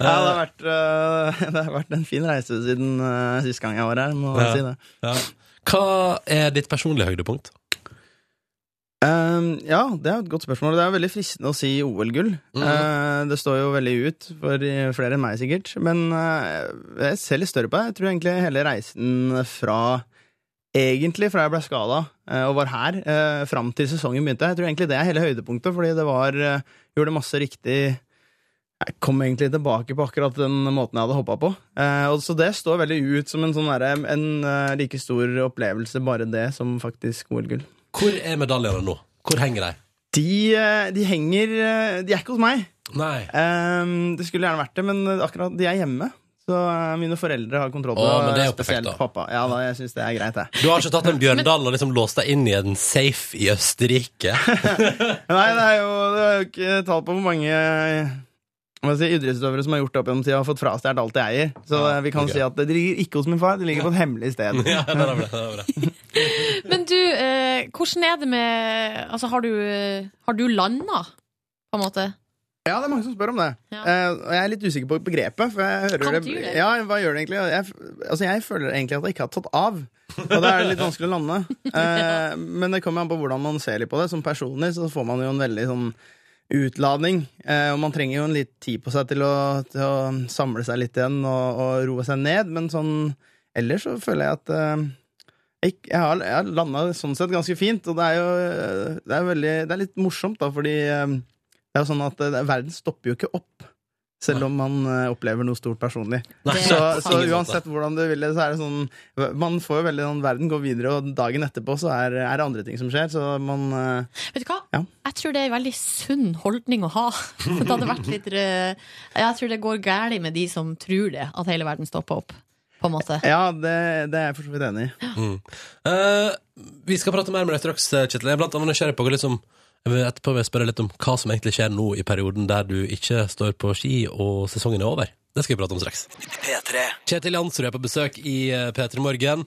Ja, det, har vært, eh, det har vært en fin reise siden uh, sist gang jeg var her, må
Ja.
jeg si det.
Ja. Hva er ditt personlige høydepunkt?
Eh, ja, det er et godt spørsmål. Det er veldig fristende å si OL-gull. Eh, det står jo veldig ut for eh, flere enn meg, sikkert. Men eh, jeg ser litt større på det. Jeg tror egentlig hele reisen fra Egentlig fra jeg ble skada eh, og var her, eh, fram til sesongen begynte. Jeg tror egentlig det er hele høydepunktet, fordi det var eh, Gjorde masse riktig Jeg kom egentlig tilbake på akkurat den måten jeg hadde hoppa på. Eh, og så det står veldig ut som en sånn derre En eh, like stor opplevelse, bare det, som faktisk OL-gull.
Hvor er medaljene nå? Hvor henger de?
De, eh, de henger eh, De er ikke hos meg.
Nei.
Ehm, Det skulle gjerne vært det, men akkurat de er hjemme. Så eh, mine foreldre har kontroll på
Å, men det er
det,
jo perfekt,
spesielt
da.
pappa. Ja, da, jeg synes det er greit, jeg.
Du har ikke tatt en Bjørndalen og liksom låst deg inn i en safe i Østerrike?
Nei, det er jo, det er jo ikke tall på hvor mange eh, hva skal jeg si, idrettsutøvere som har gjort det opp gjennom tida og fått frastjålet alt jeg eier. Så
Ja,
eh, vi kan
ok.
si at det ligger ikke hos min far, det ligger på et hemmelig sted.
Ja, det er bra, det er bra.
Men du, eh, hvordan er det med Altså, har du, eh, har du landa, på en måte?
Ja, det er mange som spør om det.
Ja.
Eh, og jeg er litt usikker på begrepet. For jeg hører
Hva
det,
betyr det?
Ja, hva gjør det egentlig? Jeg, altså, jeg føler egentlig at jeg ikke har tatt av. Og da er det litt vanskelig å lande. Eh, men det kommer an på hvordan man ser litt på det. Som personlig så får man jo en veldig sånn utladning. Eh, og man trenger jo en litt tid på seg til å, til å samle seg litt igjen og, og roe seg ned. Men sånn ellers så føler jeg at eh, jeg, ikke- jeg har, jeg har landa sånn sett ganske fint, og det er jo eh, det er veldig, det er litt morsomt, da, fordi eh, det er jo sånn at eh, verden stopper jo ikke opp. Selv om man eh, opplever noe stort personlig.
Nei, sånn.
Det-
Så,
sant.
så uansett hvordan du vil det, så er det sånn Man får jo veldig sånn Verden går videre, og dagen etterpå så er, er det andre ting som skjer, så man eh,
Vet du hva?
Ja.
Jeg tror det er en veldig sunn holdning å ha. For det hadde vært litt eh, Jeg tror det går galt med de som tror det, at hele verden stopper opp. På en måte.
eh, Ja, det, det er jeg for så vidt enig i.
Eh, vi skal prate mer med deg straks, eh, Kjetil. Jeg er blant annet nysgjerrig på hva liksom, jeg vil etterpå vil jeg spørre litt om hva som egentlig skjer nå i perioden der du ikke står på ski og sesongen er over. Det skal vi prate om straks. Kjetil Jansrud er på besøk i eh, P3 Morgen.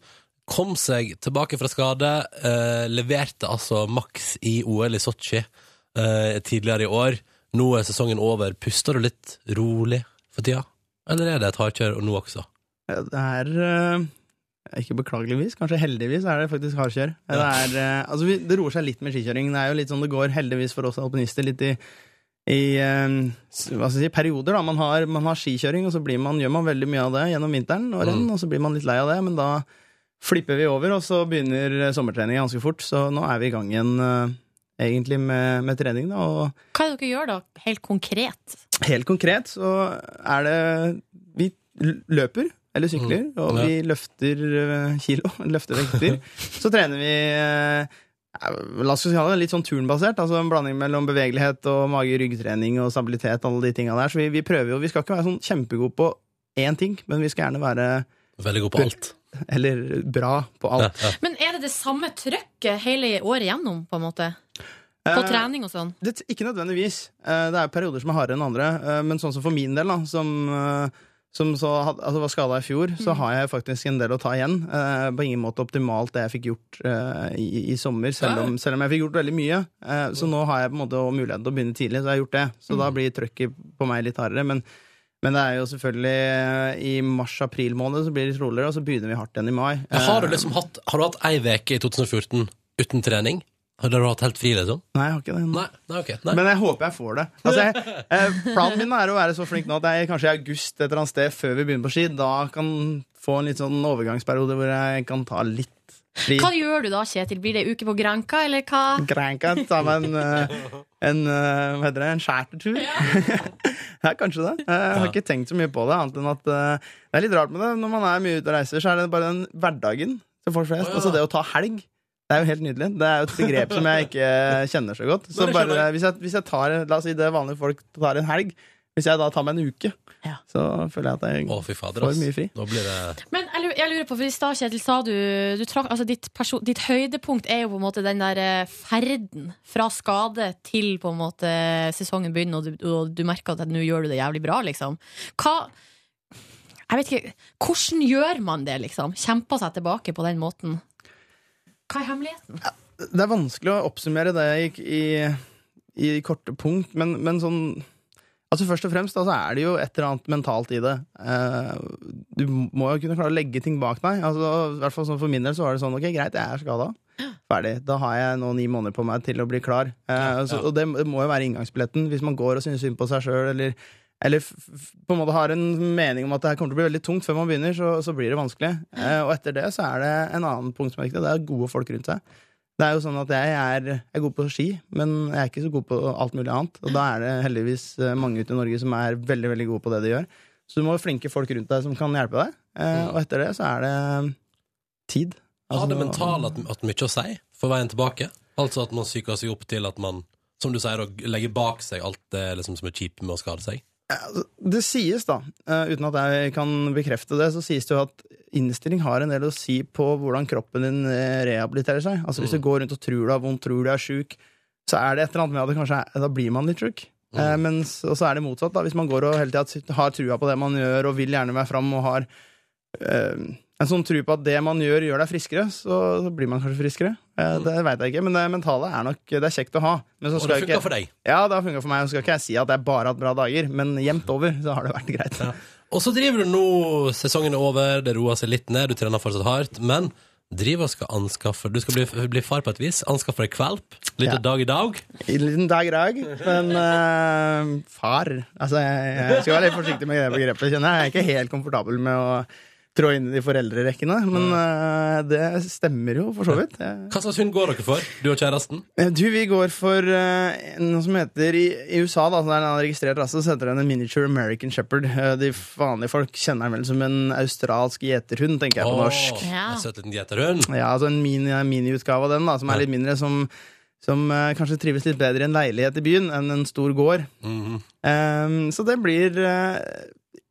Kom seg tilbake fra skade. eh, leverte altså maks i OL i Sotsji eh, tidligere i år. Nå er sesongen over. Puster du litt rolig for tida? Eller er det et hardkjør og nå også?
Det er eh, Ikke beklageligvis, kanskje heldigvis er det faktisk hardkjør. Det, er, eh, altså, vi- det roer seg litt med skikjøring. Det er jo litt sånn det går heldigvis for oss alpinister litt i i eh, s- hva skal jeg si, perioder. da, Man har, man har skikjøring, og så blir man, gjør man veldig mye av det gjennom vinteren og renn, og så blir man litt lei av det, men da flipper vi over, og så begynner eh, sommertrening ganske fort. Så nå er vi i gang igjen, eh, egentlig, med, med trening, da. og
Hva er det dere gjør da, helt konkret?
Helt konkret så er det Vi l- løper eller sykler, og
Ja.
vi løfter eh, kilo, løfter vekter. så trener vi eh, ja, La oss kalle det litt sånn turnbasert, altså en blanding mellom bevegelighet og mage-ryggtrening og stabilitet, alle de tinga der. Så vi, vi prøver jo. Vi skal ikke være sånn kjempegode på én ting, men vi skal gjerne være
Veldig god på alt.
Eller bra på
Ja,
alt.
ja.
Men er det det samme trøkket hele året gjennom, på en måte? På
Eh,
trening og sånn?
Det, ikke nødvendigvis. Eh, Det er perioder som er hardere enn andre. eh, Men sånn som for min del, da, som, eh, som så had- altså var skada i fjor,
Mm.
så har jeg faktisk en del å ta igjen. Eh, På ingen måte optimalt det jeg fikk gjort eh, i, i sommer, selv om, selv om jeg fikk gjort veldig mye. Eh, Så nå har jeg på en måte også mulighet til å begynne tidlig, så jeg har gjort det. Så
Mm.
da blir trøkket på meg litt hardere. men men det er jo selvfølgelig eh, i mars-april måned så blir det litt roligere, og så begynner vi hardt igjen i mai.
Men har du
Eh,
liksom hatt Har du hatt ei veke i 2014 uten trening? Har du hatt helt fri, liksom?
Nei, jeg har ikke det.
Nei, nei ok. Nei.
Men jeg håper jeg får det. Altså, jeg, eh, planen min er å være så flink nå at jeg kanskje i august et eller annet sted før vi begynner på ski, da kan få en litt sånn overgangsperiode hvor jeg kan ta litt fri.
Hva gjør du da, Kjetil? Blir det uke på Granka, eller hva?
Granka, ta meg en, eh, en eh, Hva heter det? En chartertur? ja, kanskje det. Eh, Jeg har ikke tenkt så mye på det, annet enn at eh, det er litt rart med det. Når man er mye ute og reiser, så er det bare den hverdagen til folk flest. Altså det å ta helg. Det er jo helt nydelig. Det er jo et begrep som jeg ikke kjenner så godt. Så
Nei, det skjønner
bare, hvis jeg, hvis jeg tar, La oss si det vanlige folk tar en helg. Hvis jeg da tar meg en uke,
Ja.
så føler jeg at jeg
Å, fy fader, ass.
Får mye fri.
Nå blir det
Men jeg lurer, jeg lurer på, for i stad, Kjetil, sa du, du trakk, altså ditt, perso- ditt høydepunkt er jo på en måte den der eh, ferden fra skade til på en måte sesongen begynner, og du, og du merker at nå gjør du det jævlig bra, liksom. Hva Jeg vet ikke, hvordan gjør man det, liksom? Kjemper seg tilbake på den måten? Hva er hemmeligheten?
Det er vanskelig å oppsummere det i, i, i korte punkt, men, men sånn Altså Først og fremst da, så er det jo et eller annet mentalt i det. Eh, du må jo kunne klare å legge ting bak deg. Altså, i hvert fall sånn For min del så var det sånn Ok, greit, jeg er skada. Ferdig. Da har jeg nå ni måneder på meg til å bli klar. Eh, så, og det må jo være inngangsbilletten hvis man går og synes synd på seg sjøl, eller, eller f, f, på en måte har en mening om at det her kommer til å bli veldig tungt før man begynner, så, så blir det vanskelig. Eh, og etter det så er det en annen punkt som er viktig, det er gode folk rundt seg. Det er jo sånn at jeg er, jeg er god på ski, men jeg er ikke så god på alt mulig annet. Og da er det heldigvis eh, mange ute i Norge som er veldig veldig gode på det de gjør. Så du må ha flinke folk rundt deg som kan hjelpe deg. Eh, og etter det så er det tid.
Har Mm. det
Altså-
mentale at, at mye å si for veien tilbake? Altså at man psyker seg opp til at man, som du sier, å legge bak seg alt det liksom, som er kjipt med å skade seg?
Det sies, da, eh, uten at jeg kan bekrefte det, så sies det jo at innstilling har en del å si på hvordan kroppen din eh, rehabiliterer seg. Altså Hvis du går rundt og tror du har vondt, tror du er sjuk, så er det et eller annet med at det kanskje er, da blir man litt sjuk. Eh, mens, og så er det motsatt, da. Hvis man går og hele tida har trua på det man gjør, og vil gjerne være fram og har eh, en sånn tro på at det man gjør, gjør deg friskere, så, så blir man kanskje friskere. Eh, det veit jeg ikke, men det mentale er nok Det er kjekt å ha. Men så
Mm. Og det
skal jeg ikke-
funka for deg.
ja, det har funka for meg. Og skal ikke jeg si at jeg bare har hatt bra dager, men jevnt over så har det vært greit.
Og så driver du nå, sesongen er over, det roer seg litt ned, du trener fortsatt hardt, men driver og skal anskaffe Du skal bli, bli far på et vis. Anskaffe deg valp. Litt
Ja.
dag i dag.
I en liten dag i dag, men eh, far Altså, jeg, jeg skal være litt forsiktig med det begrepet, kjenner jeg. Jeg er ikke helt komfortabel med å trå inn i foreldrerekkene, men
Mm.
eh, det stemmer jo for så vidt. Jeg-
Hva slags hund går dere for, du og kjæresten?
Eh, Du, vi går for eh, noe som heter i, i USA, da, så det er en registrert rase, så heter den en miniature American shepherd. Eh, De vanlige folk kjenner den vel som en australsk gjeterhund, tenker jeg på
Åh,
norsk.
Ja.
En søt liten gjeterhund.
Ja, altså en mini- miniutgave av den, da, som
Ja.
er litt mindre, som, som eh, kanskje trives litt bedre i en leilighet i byen enn en stor gård.
Mhm.
Ehm, så det blir eh,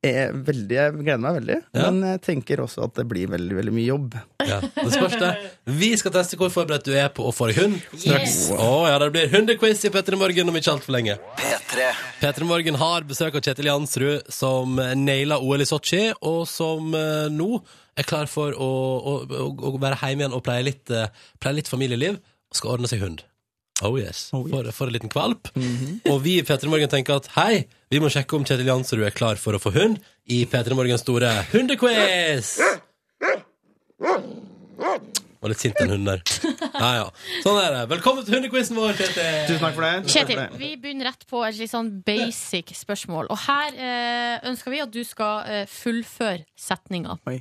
eh, veldig, Jeg gleder meg veldig,
Ja.
men jeg tenker også at det blir veldig, veldig mye jobb.
Ja, det spørs det. Vi skal teste hvor forberedt du er på å få deg hund straks. Å ja, det blir hundequiz i P3 Morgen om ikke altfor lenge. P3 Morgen har besøk av Kjetil Jansrud, som naila OL i Sotsji, og som eh, nå er klar for å, å, å, å være hjemme igjen og pleie litt, eh, pleie litt familieliv, og skal ordne seg hund. Oh yes. Mhm. For, for en liten kvalp. Og vi i P3 Morgen tenker at hei, vi må sjekke om Kjetil Jansrud er klar for å få hund i P3 Morgens store hundequiz. Og litt sint en hund der. Ja, ja. Sånn er det. Velkommen til hundequizen vår, Kjetil.
Tusen takk for det.
Kjetil, vi begynner rett på et litt sånn basic spørsmål. Og her eh, ønsker vi at du skal eh, fullføre setninga.
Oi.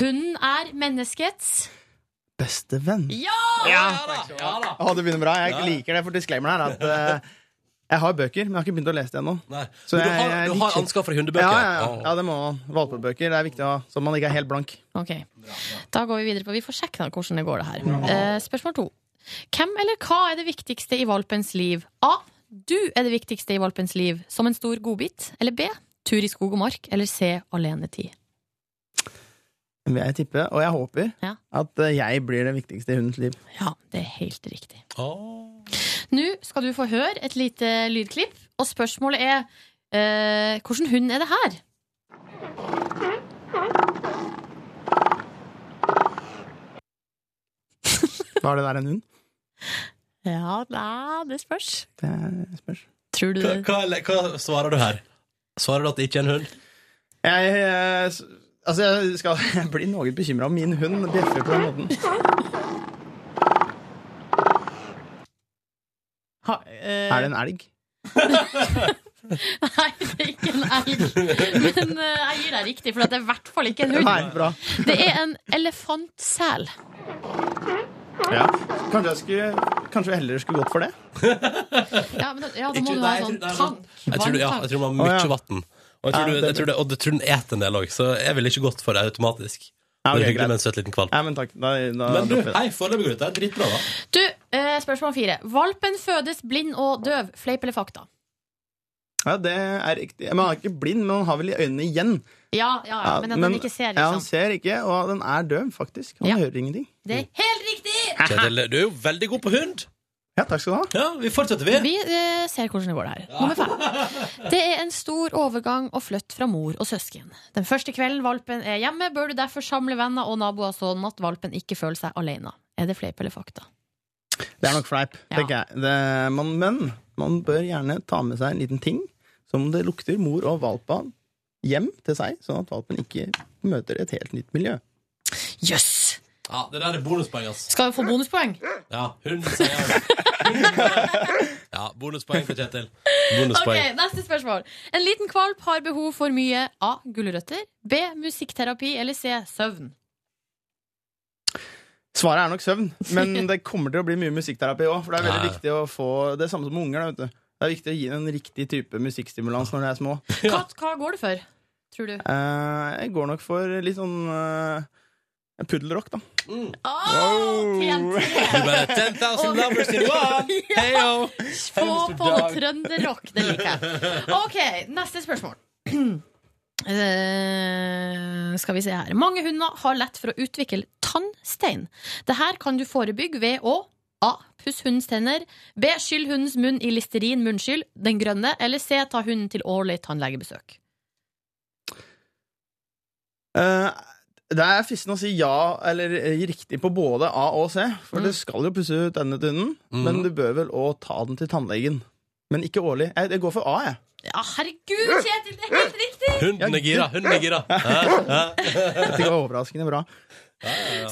Hunden er menneskets
Beste venn.
Ja!
Å, det begynner bra. Jeg
Ja.
liker det, for disclaimer her er at eh, jeg har bøker, men jeg har ikke begynt å lese det ennå.
Nei.
Så
Men du
jeg-
har,
jeg
du
liker-
har anskaffet hundebøker?
Ja, ja, ja.
Å.
ja, det må man. Valpebøker. Det er viktig å ha, så man ikke er helt blank.
Ok, Da går vi videre på Vi får sjekke da hvordan det går, det her. Eh, spørsmål to. Hvem eller hva er det viktigste i valpens liv? A. Du er det viktigste i valpens liv, som en stor godbit. Eller B. Tur i skog og mark. Eller C. Alenetid.
Vil jeg tippe, og jeg håper,
Ja.
at eh, jeg blir det viktigste i hundens liv.
Ja, det er helt riktig.
Å.
Nå skal du få høre et lite lydklipp, og spørsmålet er eh, Hvordan hund er det her?
Var det der en hund?
Ja, nei, det spørs.
Det spørs.
Tror du
Hva,
det?
hva, hva svarer du her? Svarer du at det ikke er en hund?
Jeg, eh, s- altså, jeg, skal, jeg blir noe bekymra om min hund bjeffer på den måten.
Ha- eh,
Er det en elg?
Nei, det er ikke en elg. Men eh, jeg gir deg riktig, for det er i hvert fall ikke en hund.
Nei, bra.
Det er en elefantsel.
Ja. Kanskje jeg skulle, kanskje jeg heller skulle gått for det?
Ja, men da, ja, da
Ikke-
må du ha
nei, jeg tror- nei,
en sånn tank.
Jeg tror, det- ja, jeg tror man har
Å,
mye
ja.
vann. Og, jeg tror
Ja,
du-
det-
jeg tror det- og jeg tror den eter en del òg, så jeg ville ikke gått for det automatisk.
Ja,
det
ok,
er hyggelig med en
greit.
søt liten kvalp.
Nei, men takk. Da, da
Men du,
dropper vi det.
hei, foreløpig går det ut. Det er dritbra, da.
Du, eh, spørsmål fire. Valpen fødes blind og døv. Fleip eller fakta?
Ja, det er riktig. Man er ikke blind, men man har vel i øynene igjen.
Ja, ja, ja, men at den ikke ser,
Ja, han
liksom.
ser ikke, og den er døv, faktisk. Han
Ja.
hører ingenting.
Det er helt riktig!
Kjetil, du er jo veldig god på hund.
Ja, takk skal du ha.
Ja, vi fortsetter, vi.
Vi eh, ser hvordan det går der. Nummer fem. Det er en stor overgang å flytte fra mor og søsken. Den første kvelden valpen er hjemme, bør du derfor samle venner og naboer sånn at valpen ikke føler seg alene. Er det fleip eller fakta?
Det er nok fleip,
Ja.
tenker jeg. Det, man, men man bør gjerne ta med seg en liten ting som det lukter mor og valpa hjem til seg, sånn at valpen ikke møter et helt nytt miljø.
Jøss! Yes.
Ja, det der er bonuspoeng, ass.
Skal vi få bonuspoeng?
Ja, hun sier det. Ja, bonuspoeng for Kjetil.
Ok,
Bonuspoeng.
Neste spørsmål. En liten kvalp har behov for mye A. Gulrøtter. B. Musikkterapi. Eller C. Søvn.
Svaret er nok søvn, men det kommer til å bli mye musikkterapi òg. For det er veldig
Ja.
viktig å få det er samme som med unger. da, vet du. Det er viktig å gi dem en riktig type musikkstimulans når de er små.
Hva, hva går det for, tror du?
Eh, jeg går nok for litt sånn eh, puddelrock, da.
Oh,
Du bare 10,000 numbers in one! Heyo!
Få på noe trønderrock. Det liker jeg. Ok, neste spørsmål. Eh, skal vi se her Mange hunder har lett for å utvikle tannstein. Det her kan du forebygge ved å A. Puss hundens tenner. B. Skyll hundens munn i Listerin munnskyld, den grønne. Eller C. Ta hunden til årlig tannlegebesøk.
Eh, det er fristende å si ja eller eh, riktig på både A og C. For
Mm. Mhm.
det skal jo pusse ut denne hunden,
Mm.
men du bør vel òg ta den til tannlegen. Men ikke årlig. Jeg, jeg går for A, jeg.
Ja, Ah, herregud, Kjetil! Det er helt riktig!
Hunden er gira. Hunden er gira. Hæ? Hæ?
Dette var overraskende bra.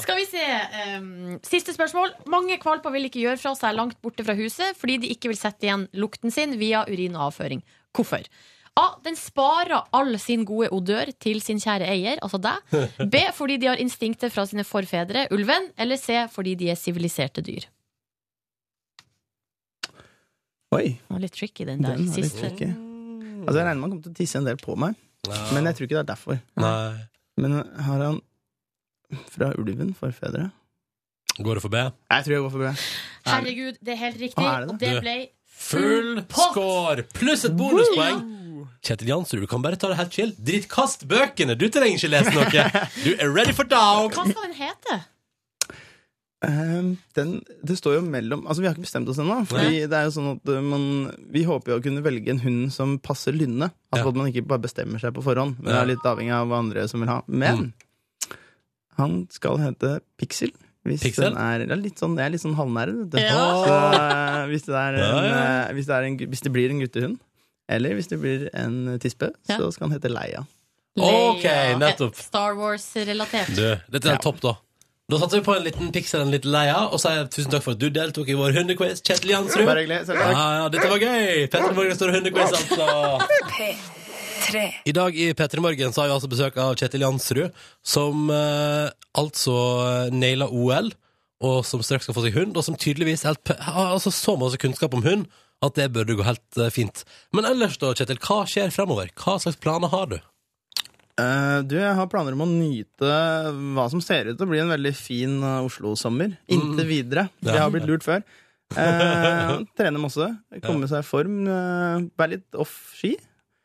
Skal vi se. ehm, siste spørsmål. Mange kvalper vil ikke gjøre fra seg langt borte fra huset fordi de ikke vil sette igjen lukten sin via urin og avføring. Hvorfor? A. Den sparer all sin gode odør til sin kjære eier, altså deg. B. Fordi de har instinkter fra sine forfedre, ulven. Eller C. Fordi de er siviliserte dyr.
Oi,
Det var litt tricky, den der
den var litt
siste.
tricky. Altså, jeg regner med han kommer til å tisse en del på meg,
Ja.
men jeg tror ikke det er derfor.
Nei.
Men har han fra ulven forfedre?
Går det for B?
Jeg tror jeg går for B.
Herregud, det er helt riktig.
Hva er det da?
Og det ble
Full
pott!
score pluss et bonuspoeng. Kjetil Jansrud, du kan bare ta det helt chill. Dritt, kast bøkene! Du trenger ikke lese noe. Du er ready for dog.
Hva skal den hete?
Ehm, den, det står jo mellom Altså, vi har ikke bestemt oss ennå. Fordi det er jo sånn at uh, man Vi håper jo å kunne velge en hund som passer lynnet. Altså
Ja.
at man ikke bare bestemmer seg på forhånd, men
Ja. Mm.
er litt avhengig av hva andre som vil ha. Men han skal hete Pixel. Hvis
Pixel?
den er, det er litt sånn, jeg er litt sånn halvnære, vet du.
Ja.
Så uh, hvis det, er
Ja,
en,
ja.
uh, hvis, det er en, gu- hvis det blir en guttehund, eller hvis det blir en tispe,
Ja.
så skal han hete Leia.
Ok,
Leia.
nettopp.
Star Wars-relatert.
Du, dette er topp, da. Da satser vi på en liten pixel en liten leia, og sier tusen takk for at du deltok i vår hundequiz. Kjetil Jansrud.
Bare hyggelig. Selv
Ja,
takk.
ja, dette var gøy! Petter Morgen står hundequiz, altså.
Tre.
I dag i Petter Morgen så har vi altså besøk av Kjetil Jansrud, som eh, altså eh, naila OL, og som straks skal få seg hund, og som tydeligvis helt, pe- har altså så masse kunnskap om hund at det burde gå helt eh, fint. Men ellers da, Kjetil, hva skjer fremover? Hva slags planer har du?
Eh, du, jeg har planer om å nyte hva som ser ut til å bli en veldig fin eh, Oslo-sommer. Inntil videre.
Mm. Ja.
Jeg har blitt lurt før. Eh, trene masse, komme seg i form, eh, være litt off-ski.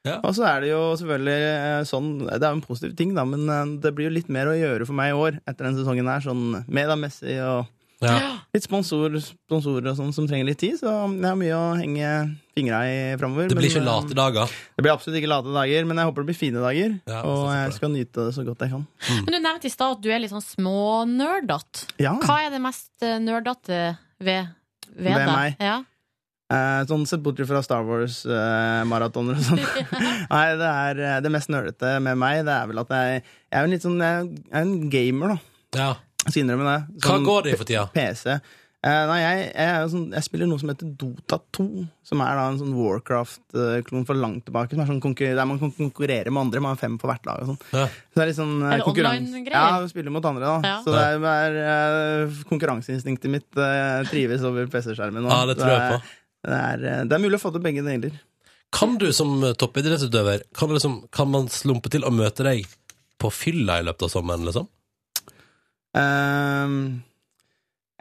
Ja.
Og så er det jo selvfølgelig eh, sånn Det er jo en positiv ting, da, men eh, det blir jo litt mer å gjøre for meg i år etter den sesongen her, sånn mediemessig og
Ja.
litt sponsor, sponsorer og sånn som trenger litt tid, så jeg har mye å henge fingra i framover.
Det blir ikke
men, eh,
late dager.
det blir absolutt ikke late dager, men jeg håper det blir fine dager.
Ja, jeg
og
satser på
jeg
det.
skal nyte det så godt jeg kan.
Men du nevnte i stad at du er litt sånn smånerdete.
Ja.
Hva er det mest eh, nerdete ved, ved,
Ved
deg?
meg?
Ja.
Eh, sånn sett bort fra Star Wars-maratoner og sånn. Nei, det er eh, det mest nølete med meg, det er vel at jeg, jeg er jo en litt sånn Jeg er en gamer, da.
Ja.
Jeg skal innrømme det.
Hva
Sånn
går det i for tida?
PC. Eh, nei, jeg, jeg, er jo sånn, jeg spiller noe som heter Dota 2, som er da en sånn Warcraft-klon for langt tilbake. Som er sånn konkur der man kan konkurrere med andre. Man er fem på hvert lag og sånn.
Ja.
Så det er litt sånn eh,
Er det
konkurranse-
online-greier?
Ja, vi spiller mot andre, da.
Ja.
Så det er, det er, eh, konkurranseinstinktet mitt eh, trives over PC-skjermen. nå.
Ja, det tror jeg
Så Det er, det er, eh, det er mulig å få til begge deler.
Kan du som toppidrettsutøver kan, du liksom, kan man slumpe til å møte deg på fylla i løpet av sommeren, liksom?
Ehm,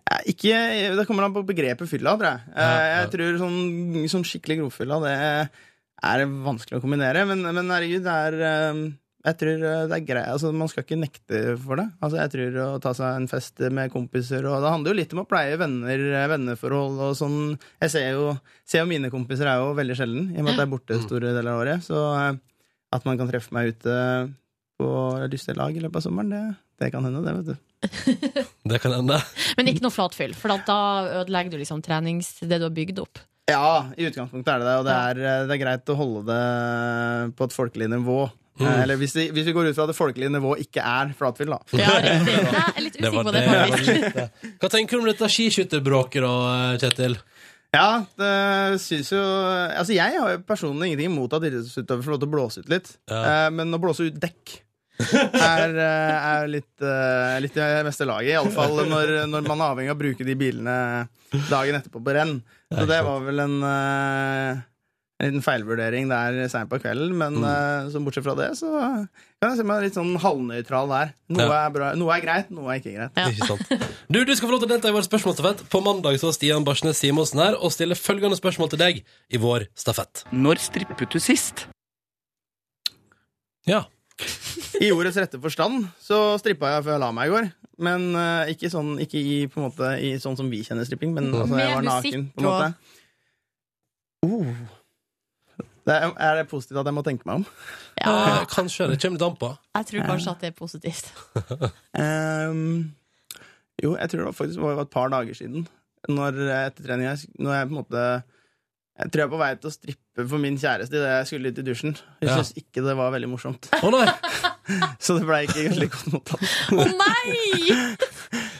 ja, ikke, det kommer an på begrepet fylla, tror jeg. Eh,
Ja, ja.
Jeg tror sånn, sånn skikkelig grovfylla, det er vanskelig å kombinere. Men, men herregud, det er ehm, jeg tror eh, det er grei, altså Man skal ikke nekte for det. Altså jeg tror Å ta seg en fest med kompiser og Det handler jo litt om å pleie venner, eh, venneforhold og sånn. Jeg ser jo, ser jo mine kompiser er jo veldig sjelden, i og med at jeg er
Mm.
borte store deler av året. Så eh, at man kan treffe meg ute på lystige lag i løpet av sommeren, det, det kan hende, det, vet du.
Det kan hende.
Men ikke noe flatfyll, for da ødelegger du liksom trenings, det du har bygd opp.
Ja, i utgangspunktet er det det, og det er, eh, det er greit å holde det på et folkelig nivå. Eh, Eller hvis, vi- hvis vi går ut fra det folkelige nivået ikke er flatfyll, da.
Ja, riktig. Nei, jeg er litt
Det
usikker
var
på
det.
det, faktisk.
Hva tenker du om dette skiskytterbråket da, eh, Kjetil?
Ja, det syns jo Altså, jeg har jo personlig ingenting imot at idrettsutøvere får lov til å blåse ut litt,
Ja.
Eh, men å blåse ut dekk er, eh, er litt, eh, litt i meste laget, iallfall når, når man er avhengig av å bruke de bilene dagen etterpå på renn. Så det var vel en eh, en liten feilvurdering der seint på kvelden, men
Mm.
eh, så bortsett fra det, så kan jeg se meg litt sånn halvnøytral der. Noe,
Ja.
er bra, noe er greit, noe er ikke greit.
Ikke sant? Du, du skal få lov til å delta i vår spørsmålsstafett. På mandag så var Stian Barsnes Simonsen her og stiller følgende spørsmål til deg i vår stafett.
Når strippet du sist?
Ja.
I ordets rette forstand så strippa jeg før jeg la meg i går. Men eh, ikke, sånn, ikke i, på en måte, i sånn som vi kjenner stripping, men altså, jeg
Med
var naken.
musikk
på en måte. Oh. Det er, er det positivt at jeg må tenke meg om?
Ja,
Eh, kanskje. Det kommer litt an på.
jeg tror kanskje at det er positivt.
Ehm, jo, jeg tror det var faktisk var et par dager siden. Når eh, etter trening jeg, Når jeg på en måte Jeg tror jeg er på vei til å strippe for min kjæreste idet jeg skulle ut i dusjen. Hun
Ja.
syntes ikke det var veldig morsomt,
Å nei!
så det ble ikke veldig godt mottatt.
Å nei!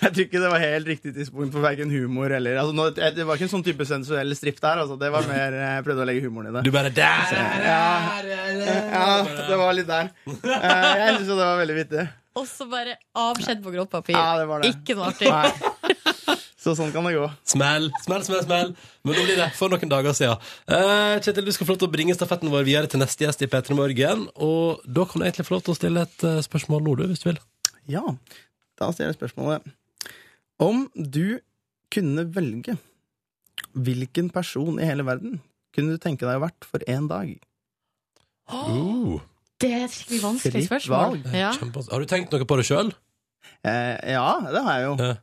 Jeg tror ikke det var helt riktig tidspunkt for verken humor eller altså, nå, Det var ikke en sånn type sensuell stripp der. Altså, det var mer eh, Jeg prøvde å legge humoren i det.
Du bare der,
Ja. Ja, det var litt der. Eh, Jeg syns det var veldig vittig.
Og så bare avskjed på grått papir.
Ja, det var det.
Ikke noe artig.
Nei. Så sånn kan det gå.
Smell, smell, smell, smell. Men nå blir det for noen dager siden. Eh, Kjetil, du skal få lov til å bringe stafetten vår videre til neste gjest i P3 Morgen. Og da kan du egentlig få lov til å stille et eh, spørsmål nå, du, hvis du vil.
Ja, da stiller jeg spørsmålet. Om du kunne velge hvilken person i hele verden kunne du tenke deg å vært for én dag?
Uh,
Det er et skikkelig vanskelig
Fritt
spørsmål. Ja.
Eh, kjempe- Har du tenkt noe på det Eh, sjøl?
Eh, ja, det har jeg jo.
Ja.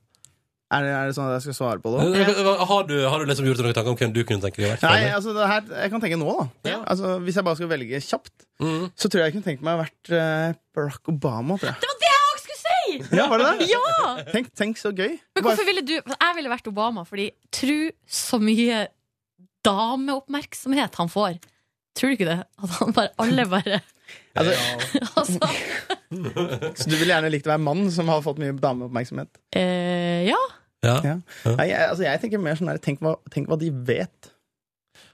Er, det, er det sånn at jeg skal svare på det òg?
eh, Har, du- har du liksom gjort deg noen tanker om hvem du kunne tenke deg å
Nei,
være?
altså det her, jeg kan tenke nå, da.
Ja.
Altså, hvis jeg bare skal velge kjapt,
Mm.
så tror jeg jeg kunne tenkt meg å vært eh, Barack Obama. Tror jeg.
Det var det jeg også skulle si!
Ja, var det det?
Ja!
Tenk, tenk så gøy.
Men
Bare-
hvorfor ville du Jeg ville vært Obama, fordi tru så mye dameoppmerksomhet han får. Tror du ikke det? At han bare Alle bare
altså,
Altså.
så du ville gjerne likt å være mann som har fått mye dameoppmerksomhet?
Eh, ja.
Ja.
Ja. Nei, jeg, altså, jeg tenker mer sånn der, tenk hva, tenk hva de vet.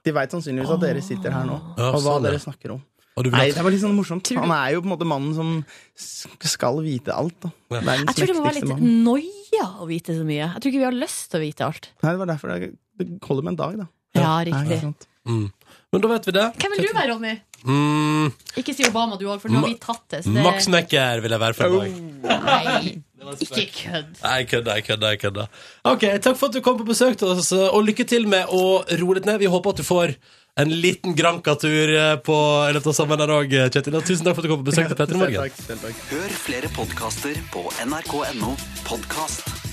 De veit sannsynligvis at dere sitter her nå,
Ja,
og hva
sånn,
dere
ja.
snakker om.
Og du vil
Nei,
at-
det var litt sånn morsomt. Han er jo på en måte mannen som sk- skal vite alt. Da.
Ja.
Verdens
Jeg tror det må være
mektigste
litt
mann.
noia å vite så mye. Jeg tror ikke vi har lyst til å vite alt.
Nei, det var derfor det, det holder med en dag, da.
Ja,
Nei, ikke
riktig.
sant.
Mm. Men da vet vi det.
Hvem vil du være, Ronny?
Mm.
Ikke si Obama, du òg, for nå har vi tatt det. Så det
Max Mekker vil jeg være
Oh.
for en dag.
Nei, ikke kødd.
Nei, jeg kødder, jeg kødder, jeg kødder. Ok, takk for at du kom på besøk til oss, eh, og lykke til med å roe litt ned. Vi håper at du får en liten Granca-tur eh, på i løpet av sommeren her òg, Kjetil. Og tusen takk for at du
é
kom på besøk til Petter i
Selv
morgen.
takk, selv takk.
Hør flere podkaster på nrk.no podkast.